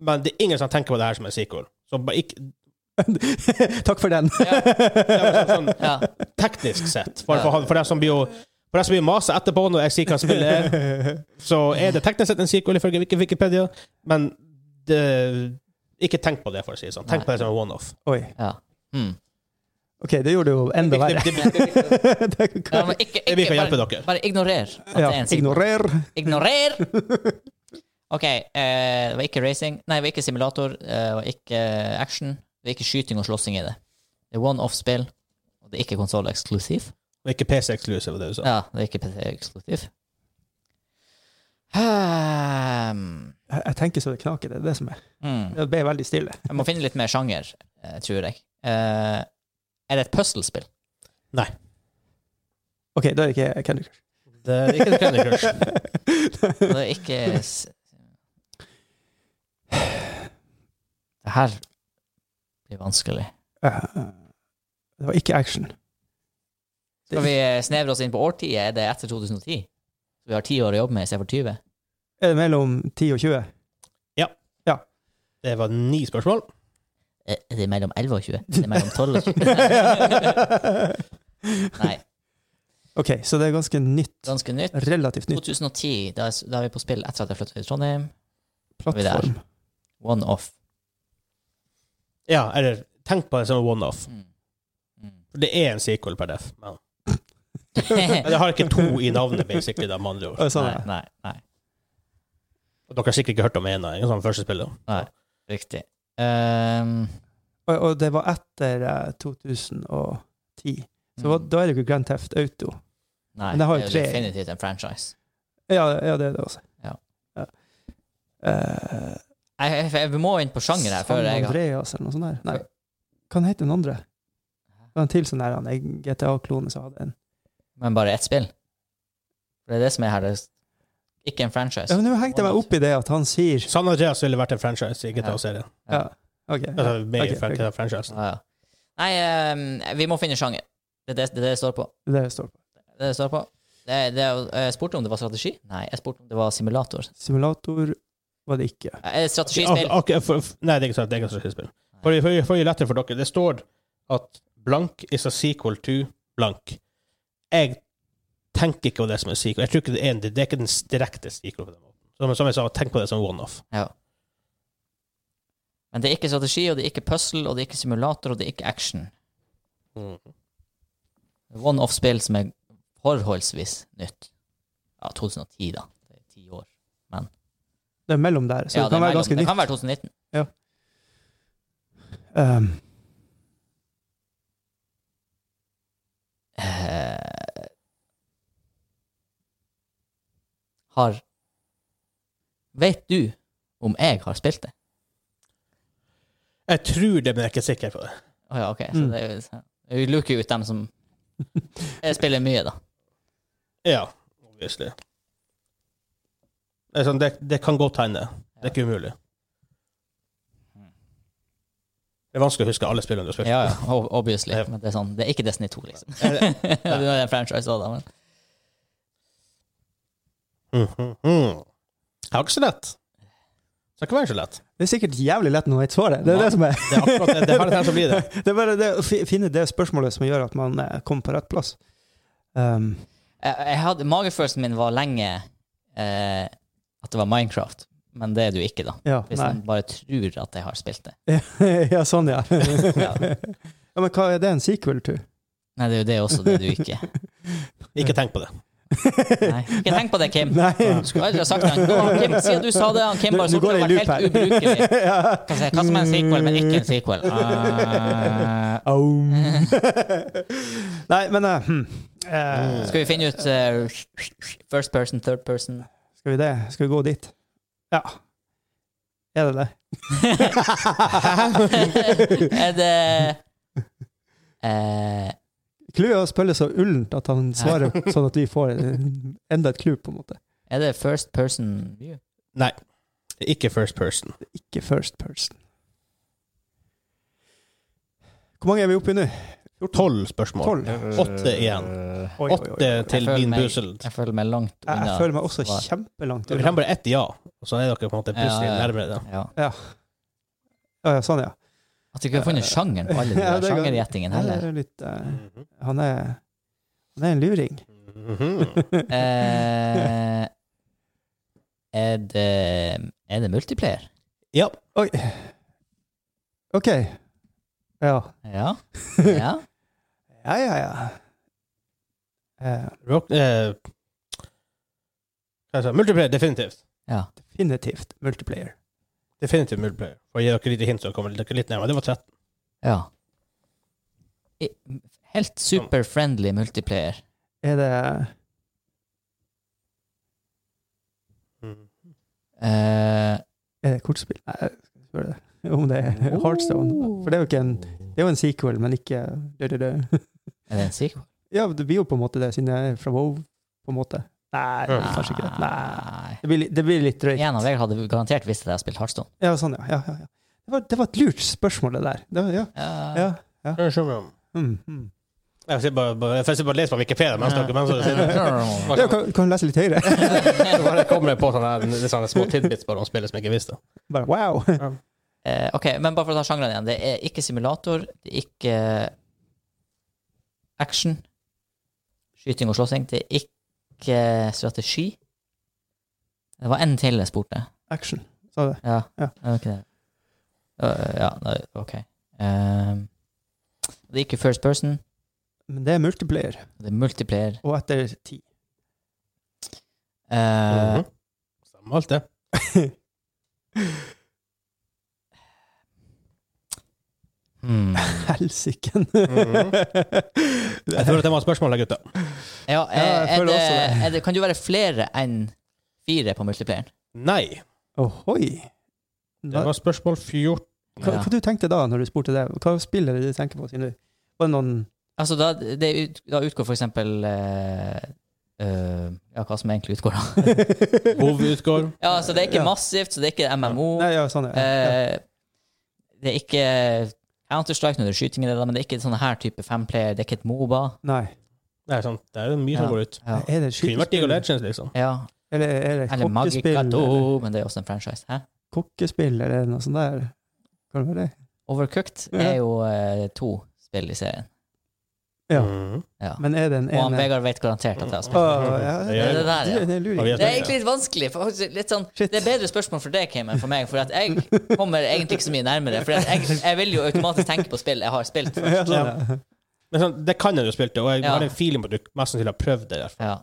Men det er ingen som tenker på det her som en sequel. Så bare ikke, Takk for den. Ja. det er bare sånn, ja. sånn teknisk sett, for, for, han- for dem som blir jo for dem som blir maset etterpå når jeg sier hva spillet er, så er det teknisk sett en sequel ifølge Wiki- Wikipedia, men det, ikke tenk på det, for å si det sånn. Tenk Nei. på det som en one-off. Oi. ja. Mm. OK, det gjorde det jo enda Det, verre. det, det, Det Ja, kan- men ikke, det, vi ikke, kan hjelpe bare, dere. bare ignorer at det Ja, er en sequel. ignorer. Ignorer! OK. Eh, det var ikke racing. Nei, det var ikke simulator. Eh, det var ikke action. Det var ikke skyting og slåssing i det. Det er one-off-spill. Og det er ikke konsoll-eksklusiv. Og ikke PC-exclusive, det du sa. Ja, det er ikke PC-eksklusiv. Hmm. Jeg jeg tenker så det knaker, det er det som er. Mm. Det ble veldig stille. Jeg må finne litt mer sjanger, eh, tror jeg. Eh, er det et puzzle-spill? Nei. OK, da er det ikke Candy Crush. Det er ikke en Candy Crush. Og det er ikke s- Det her blir vanskelig. Eh, Det var ikke action. Skal vi eh, snevre oss inn på årtiet? Er det etter 2010? Så vi har ti år å jobbe med istedenfor 20? Er det mellom 10 og 20? Det var ni spørsmål. Eh, Er det mellom 11 og 20? Er det mellom 12 og 20? Nei, OK, så det er ganske nytt. ganske nytt. Relativt nytt 2010, da er, s- da er vi på spill etter at jeg flyttet til Trondheim. vi der? plattform. One off. Ja, eller tenk på det som en one-off. Mm. Mm. For Det er en sequel per def. Men det har ikke to i navnet, basically, da, med andre ord. Å, Sånn, nei, ja. nei, nei, Og Dere har sikkert ikke hørt om en av dem, sånn første spillet. nei. Riktig. Ehm, Og, og det var etter eh, 2010. Så hva- da er det jo ikke Grand Theft Auto. mm. Nei, men det har jo det er tre. definitivt en franchise. Ja, ja det er det også. Ja. Ja. Eh, Jeg, jeg, jeg må inn på sjanger her før San jeg Andreas eller noe sånt der. Nei. Hva het den andre? Det var en til sånn der han er GTA-klone som hadde en. Men bare ett spill? For det er det som er her. Det er ikke en franchise. Ja, men Nå hengte jeg meg opp i det at han sier San Andreas ville vært en franchise i Ja. GTA-serien. Ja, OK. Ja. Altså, med i Ok, ok. GTA-franchisen. Ja, ja. Nei, eh, vi må finne sjanger. Det er det det, er det det står på. Det er det det står på. Det er det det står på. Det, er- det, er- jeg spurte om det var strategi. Nei, jeg spurte om det var simulator. Simulator var det ikke. Er det strategispill? Ak- ak- for- f- Nei, det er ikke sant. Det er ikke strategispill. For for- for å gjøre det lettere for dere, det står at blank is a sequel to blank. Jeg tenker ikke på det som en sequel. Jeg tror ikke det er en, det er ikke den direkte sequel på den måten. Som, som jeg sa, tenk på det som one-off. Ja. Men det er ikke strategi, og det er ikke puzzle, og det er ikke simulator, og det er ikke action. One-off-spill som er forholdsvis nytt. Ja, 2010, da. Det er ti år. Det er mellom der, så Ja, det kan er være mellom- ganske det nytt. kan være 2019. Um, Eh, har Vet du om jeg har spilt det? Jeg tror det, men jeg er ikke sikker på det. Å ja, OK. Så Mm. det er jo- sånn- Vi luker jo ut dem som Jeg spiller mye, da. Ja, obviously. Det, er sånn, det, det kan godt hende. Det er ikke umulig. Det er vanskelig å huske alle spillene du har spilt. Ja, ja, o- obviously. Ja. Men det er sånn, det er ikke Destiny 2, liksom. Nei. det er en franchise også, da, men Mhm, mhm. Jeg har ikke så lett. Det skal ikke være så lett. det er sikkert jævlig lett når man vet svaret. Det er det som er Det er akkurat det. Det har jeg tenkt å bli det. Det er bare det å fi- finne det spørsmålet som gjør at man eh, kommer på rett plass. Um, jeg, jeg hadde, Magefølelsen min var lenge eh, at det var Minecraft, men det er det jo ikke, da. ja, Hvis nei. man bare tror at jeg har spilt det. ja, sånn, ja. Ja. ja. Men hva er det en sequel to? Nei, det er jo det også, det du ikke Ikke tenk på det. Nei. Ikke tenk på det, Kim. Nei. Jeg skulle aldri ha sagt det. Nå, han Kim, siden du sa det, han Kim Nå- bare nå så går det det i var helt loop her. ubrukelig. ja. Hva sier jeg? Hva som er en sequel, men ikke en sequel? Ah. Au. Nei, men eh, hm. Eh, skal vi finne ut eh, first person, third person? Skal vi det? Skal vi gå dit? Ja. Er det det? er det eh, Clouet er å spille så ullent at han svarer sånn at vi får eh, enda et clou, på en måte. Er det first person view? Nei. Ikke first person. Ikke first person. Hvor mange er vi oppe i nå? Tolv spørsmål. Tolv? eh, Åtte igjen. Oi, oi, oi, Åtte oi. til Jeg føler min meg- bussel. Jeg føler meg langt Jeg, unna. jeg føler meg også svar. kjempelangt Dere unna. kan bare ett ja, og så er dere på en måte Ja, plutselig ja, ja. nærmere det. Ja. Ja, ja, sånn, ja. At du ikke har funnet sjangeren på alle de Ja, der det er godt. sjangergjettingen Han heller. er, litt, eh, han, er, han er en luring. Mm-hmm. Mhm. Eh, er det Er det multiplayer? Ja. Oi. OK. Ja. Ja. ja. Ja, ja, ja. Eh, Rock, eh, hva jeg sa, multiplayer, definitivt. definitivt multiplayer. Definitivt multiplayer. For å gi dere litt hint, så kommer dere litt nærmere. Det var 13. ja. I- Helt super-friendly multiplayer. Er det Mm-hmm. Eh, Er det kortspill? Nei, jeg skal spørre det. Om det er Heartstone. For det er jo ikke en, det er jo en sequel, men ikke dø, dø, dø. er det en sequel? Ja, det blir jo på en måte det, siden jeg er fra WoW, på en måte. Nei, det blir kanskje ikke det. Nei. Det blir, litt- det blir litt drøyt. Igjen, og Vegard hadde garantert visst at jeg har spilt Hearthstone. Ja, sånn, ja. ja, ja, ja. Det, var, det var et lurt spørsmål, det der. Det var, ja, ja, Eh, ja. Mm, mm. Jeg sitter bare, bare, jeg sitter bare og leser på Wikipedia mens dere mens dere sier det. Ja. Ja, kan, kan du lese litt høyere? Så bare kommer jeg på sånne, her- litt sånne små tidbits bare om spillet som jeg ikke visste. Bare wow! Eh, ok, men bare for å ta sjangeren igjen. Det er ikke simulator, det er ikke action, skyting og slåssing. Det er ikke strategi. Det var en til jeg spurte. Action. sa det. Ja, Ja. det var ikke det. Øh, ja, nei, ok. Ehm, det er ikke first person, Men det er multiplayer, det er multiplayer. og etter ti. Eh, Mhm. Stemmer alt det. hmm. Helsiken. Mhm. Jeg føler at det var et spørsmål her, gutter. Ja, Ja, jeg er, er, føler det, også det. er det, kan du være flere enn fire på multiplayeren? Nei. Ohoi. Det Hva, var sånn, spørsmål 14. hva, hva du tenkte du da når du spurte det? Hva spiller du tenker på? Siden du var det noen Altså, da, det ut, da utgår for eksempel eh, eh, Ja, hva som egentlig utgår, da. Hovedutgård. Ja, så det er ikke Ja. massivt, så det er ikke MMO. Nei, ja, sånn, ja. ja. Eh, det er ikke Counter-Strike når det er skyting, i det, men det er ikke sånne her type femplayer. Det er ikke et Moba. Nei. Nei, sant. Det er jo mye som Ja. går ut. Ja. Kunne Er det vært League of skytespill? Legends, liksom. ja. Eller er det Eller kokkespill? eller Magicato, men det er også en franchise. Hæ? Kokkespill, eller noe sånt der? Hva var det? Overcooked Ja. er jo eh, to spill i serien. Ja. Mhm. Ja. Men er det en Og han ene? Vegard vet garantert at jeg har Å, spilt. ja, Det Det det, gjør er jeg. det der, ja. det lurer Ja, vi jeg Det er egentlig litt vanskelig. For, litt sånn, Shit. det er bedre spørsmål for deg, Kim, enn for meg. For at jeg kommer egentlig ikke så mye nærmere. For at jeg, jeg vil jo automatisk tenke på spill jeg har spilt på. før. Ja, sånn, ja. Men sånn, det kan jeg jo spilt, og jeg Ja. har en feeling på at du mest sannsynlig har prøvd det. i hvert fall. Ja. Jeg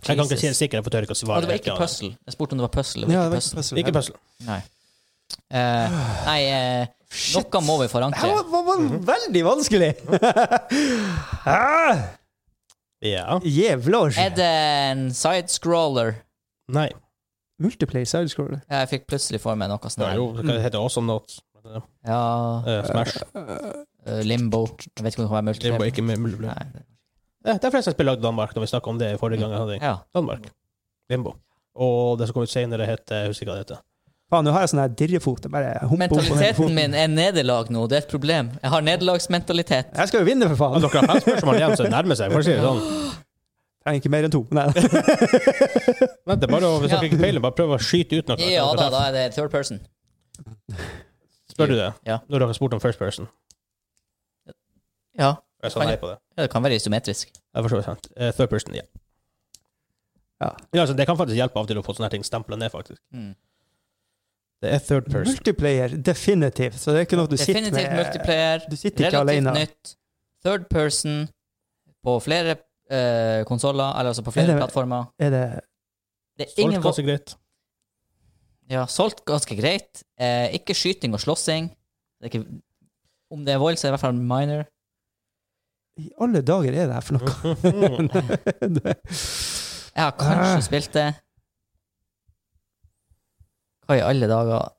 kan ikke si det Ah, Jesus. sikkert, jeg får tørre ikke å Og svare. det var helt ikke igjen. puzzle. Jeg spurte om det var puzzle. Det Ja, var det ikke var ikke puzzle. puzzle. Nei. Ikke puzzle. Ah. Eh, nei, eh, noe må vi Det her forankre. var, var, var veldig vanskelig! ah, Ja. Jævlar! Er det en sidescroller? Nei. Multiplay sidescroller. Ja, Jeg fikk plutselig for meg noe sånt. Det er her. jo, det heter også Notes. Ja, Eh, Smash. eh, Limbo. Jeg vet ikke om det kan være Det var multiplayer. ikke med mulig. Nei. Eh, Det er flest jeg spiller i Danmark, når vi snakket om det forrige gang. jeg hadde Ja. Danmark. Limbo. Og det som kom ut senere, het Jeg husker ikke hva det heter. Faen, nå har jeg sånn her dirrefot. Jeg Bare humper opp på den Mentaliteten foten. min er nederlag nå. Det er et problem. Jeg har nederlagsmentalitet. Jeg skal jo vinne, for Men faen! dere har fem spørsmål igjen, så det nærmer seg. for å si det sånn. Trenger ikke mer enn to. Nei. Vent, det er bare å, Hvis Ja. dere ikke peiler, bare prøv å skyte ut noe. Ja da, da er det third person. Spør du det? Ja. Når dere har spurt om first person? Ja, Jeg sa nei på det. det kan være isometrisk. Jeg forstår det sant. Eh, Third person, ja. Ja. altså, det kan faktisk hjelpe av og til å få sånne her ting stempla ned, faktisk. Mm. Det er Mhm. third person. Multiplayer, definitivt. Så det er ikke noe du sitter med Definitivt multiplayer. Du sitter ikke Relativt alene. nytt. Third person på flere uh, konsoller, eller altså på flere Er det- plattformer. Er det Det er Solgt ingen våpen ganske greit. Ja, solgt ganske greit. Eh, ikke skyting og slåssing. Det er ikke, om det er vold, så er det i hvert fall minor. I alle dager er det her for noe? Det- Jeg har kanskje Ah. spilt det. Hva i alle dager?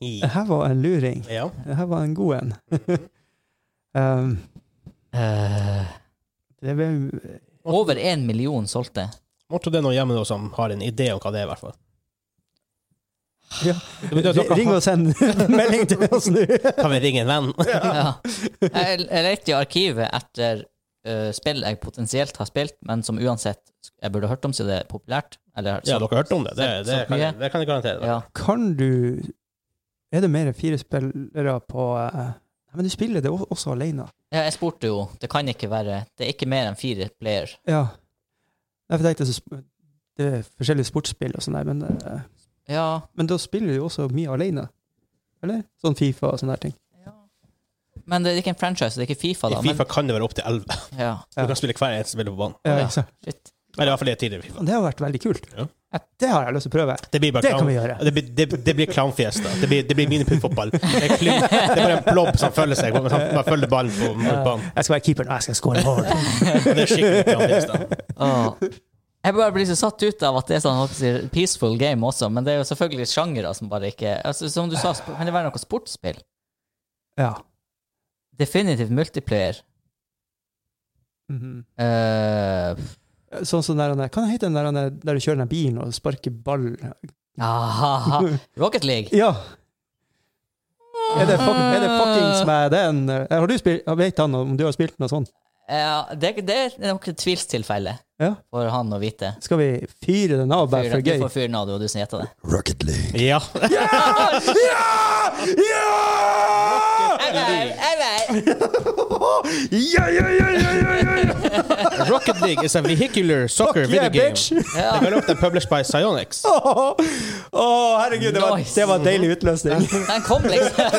det her var en luring. ja. Det her var en god en. um, Eh, det ble, over én million solgte. Måtte det er noen hjemme nå som har en idé om hva det er, i hvert fall. ja. Det betyr at dere Ring har- og send melding til oss nå! Kan vi ringe en venn? Ja. Jeg, jeg lette i arkivet etter eh, spill jeg potensielt har spilt, men som uansett jeg burde hørt om, så det er populært. Eller, Ja, dere har hørt om det. Det, det, kan, jeg, det kan jeg garantere. ja. Kan du Er det mer enn fire spillere på eh, Nei, men du spiller det o- også alene. Ja, jeg spurte jo. Det kan ikke være Det er ikke mer enn fire player. Ja. Jeg tenkte så sp- Det er forskjellige sportsspill og sånn der, men, eh, Ja, men da spiller du jo også mye alene. Eller? Sånn Fifa og sånne der ting. men det er ikke en franchise, det er ikke Fifa, I da. Fifa kan det være opptil elleve. Men, ja, Ja. Du kan spille hver eneste spiller på banen. Ja, Ja. ikke sant? shit. Eller i hvert fall det er tidligere i Fifa. Og Det har vært veldig kult. Ja. Det har jeg lyst til å prøve. Det blir bare Det kan clown- vi gjøre. Det blir, det, det blir clownfiesta. Det blir, det blir miniputt-fotball. Det, er kly- det er bare en blobb som følger seg. men Han man følger ballen på mot banen. Jeg skal være keeper når jeg skal score mål. Og Det er skikkelig clownfiesta. Åh. Jeg bare blir så satt ut av at det er sånn holdt på å si, peaceful game også, men det er jo selvfølgelig sjangere som bare ikke altså, Som du sa, sp- kan det være noe sportsspill? Ja. Definitivt multiplayer. Mhm. Eh, Sånn som den der, hva heter den der, der du kjører den bilen og sparker ball? aha, Rocket League. Ja! Er det, fuck, er det fuckings med den? eh, Har du spilt, jeg vet han om du har spilt noe sånt? Ja, det, det er nok et tvilstilfelle Ja. for han å vite. Skal vi fyre den av bare Fyr, for du gøy? får fyren av det, og du som gjetter det. Rocket League. Ja. Jeg vet, jeg vet. Ja, ja, ja, ja, ja, ja, ja. Rocket League is a vehicular soccer Fuck yeah, video game. bitch! Ja. Developed and published by Psyonix. Å, herregud, det var, Nice. det var en deilig utløsning. Den kom liksom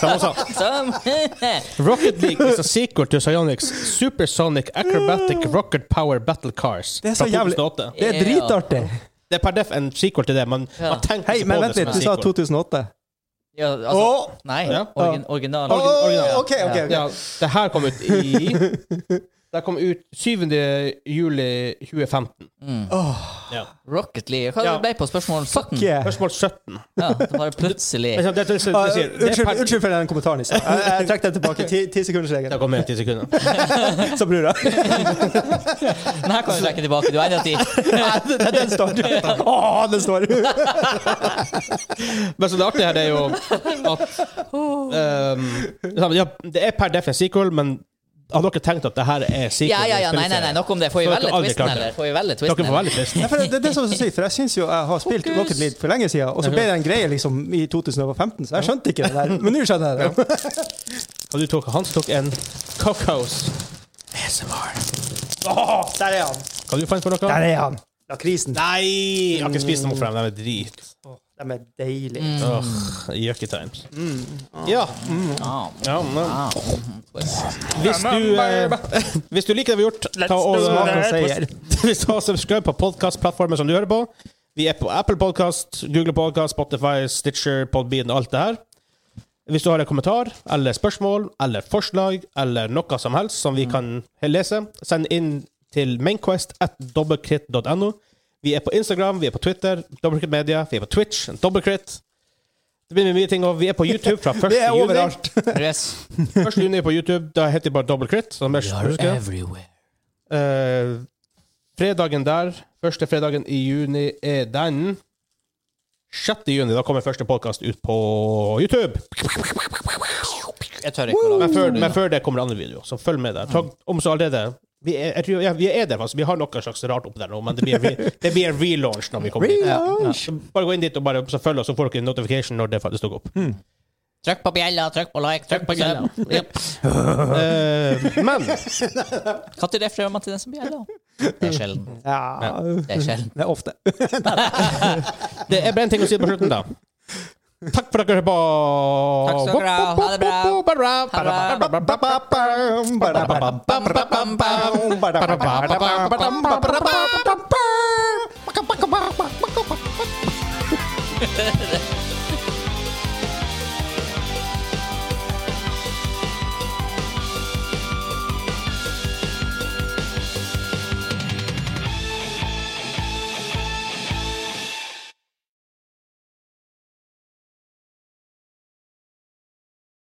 Som hun sa. som Rocket League is a sequel to Psyonix Supersonic Acrobatic Rocket Power Battle Cars. Det er så fra jævlig- 2008. Det er dritartig. Det er per def en sequel til det. Man, Ja. man tenker Hei, ikke men på vent det litt, som du en sa sequel. 2008. Ja, altså, Åh! Nei, Ja. origin, original. Orgi- Åh, original. ok, ok, ok. Ja, det her kom ut i Det kom ut 7. juli 2015. Mm. Åh, Rocket League. Hva Ja. det ble på spørsmål 17? yeah. Spørsmål 17. Ja, det var plutselig Det, er sånn- det, er- det, Ah, er- det, er- det, unnskyld, er per- unnskyld for den kommentaren. i stad. Jeg, jeg trekker den tilbake. Ti, ti Det sekundersregelen. kom med 10 sekunder. Så blir det. Den her kan vi trekke tilbake. Du er enig i at de Nei, den- Den står. Åh, den står. Men så det artige her det er jo at ehm, ja, Det er per def en sequel, men har dere tenkt at det her er sequel? Ja, ja, ja, nei, nei, nei, nok om det. Får vi Så velge dere aldri twisten, klarte det. eller? Får vi velge Dere twisten, får eller? veldig trist. Nei, for det, det er det som er så sykt, for jeg syns jo jeg har spilt Fokus. Rocket League for lenge siden, og så ble den greie liksom i 2015, så jeg skjønte ikke det der. Men nå skjønner jeg det. Og du tok, Hans tok en cockhouse. ASMR. Åh, der er han! Kan du finne på noe? Der er han! Lakrisen. Nei! Jeg har ikke spist noe fra dem. De er drit. Åh, De er deilige. Åh, Yucky times. Ja. Ja. ja men, Ja. Twist. hvis, du, eh, hvis du liker det vi har gjort, ta og Smak og eh, seier. Hvis du har subscribe på podcastplattformen som du hører på. Vi er på Apple Podcast, Google Podcast, Spotify, Stitcher, Podbean og alt det her. Hvis du har en kommentar eller spørsmål eller forslag eller noe som helst som Mm. vi kan lese, send inn til mainquest at dobbeltkritt.no. Vi er på Instagram, vi er på Twitter, Dobbeltkritt Media, vi er på Twitch, Dobbeltkritt. Det blir mye ting, og vi er på YouTube fra 1. Vi er juni. overalt. Yes. 1. juni er på YouTube, da heter det bare Dobbeltkritt. så mer- husker jeg. everywhere. Eh, fredagen der, første fredagen i juni, er den 6. juni. Da kommer første podkast ut på YouTube. Jeg tør ikke å lage Men før, men før det kommer andre videoer, så følg med der. Ta, om så allerede vi er, jeg tror, ja, vi er der, altså. Vi har noe slags rart opp der nå, men det blir, en re- det blir en relaunch når vi kommer dit. Relaunch. Så Bare gå inn dit og bare så følg oss, så får dere en notification når det faktisk dukker opp. Trykk på bjella, trykk på like, trykk på bjella. Yep. Eh, men Når refererer man til den som bjella? Det er sjelden. Ja, Det er sjelden. det er ofte. det er bare en ting å si på slutten, da. Takk for at dere hører på. Takk skal dere ha. Ha det bra. Ha det Ha det bra.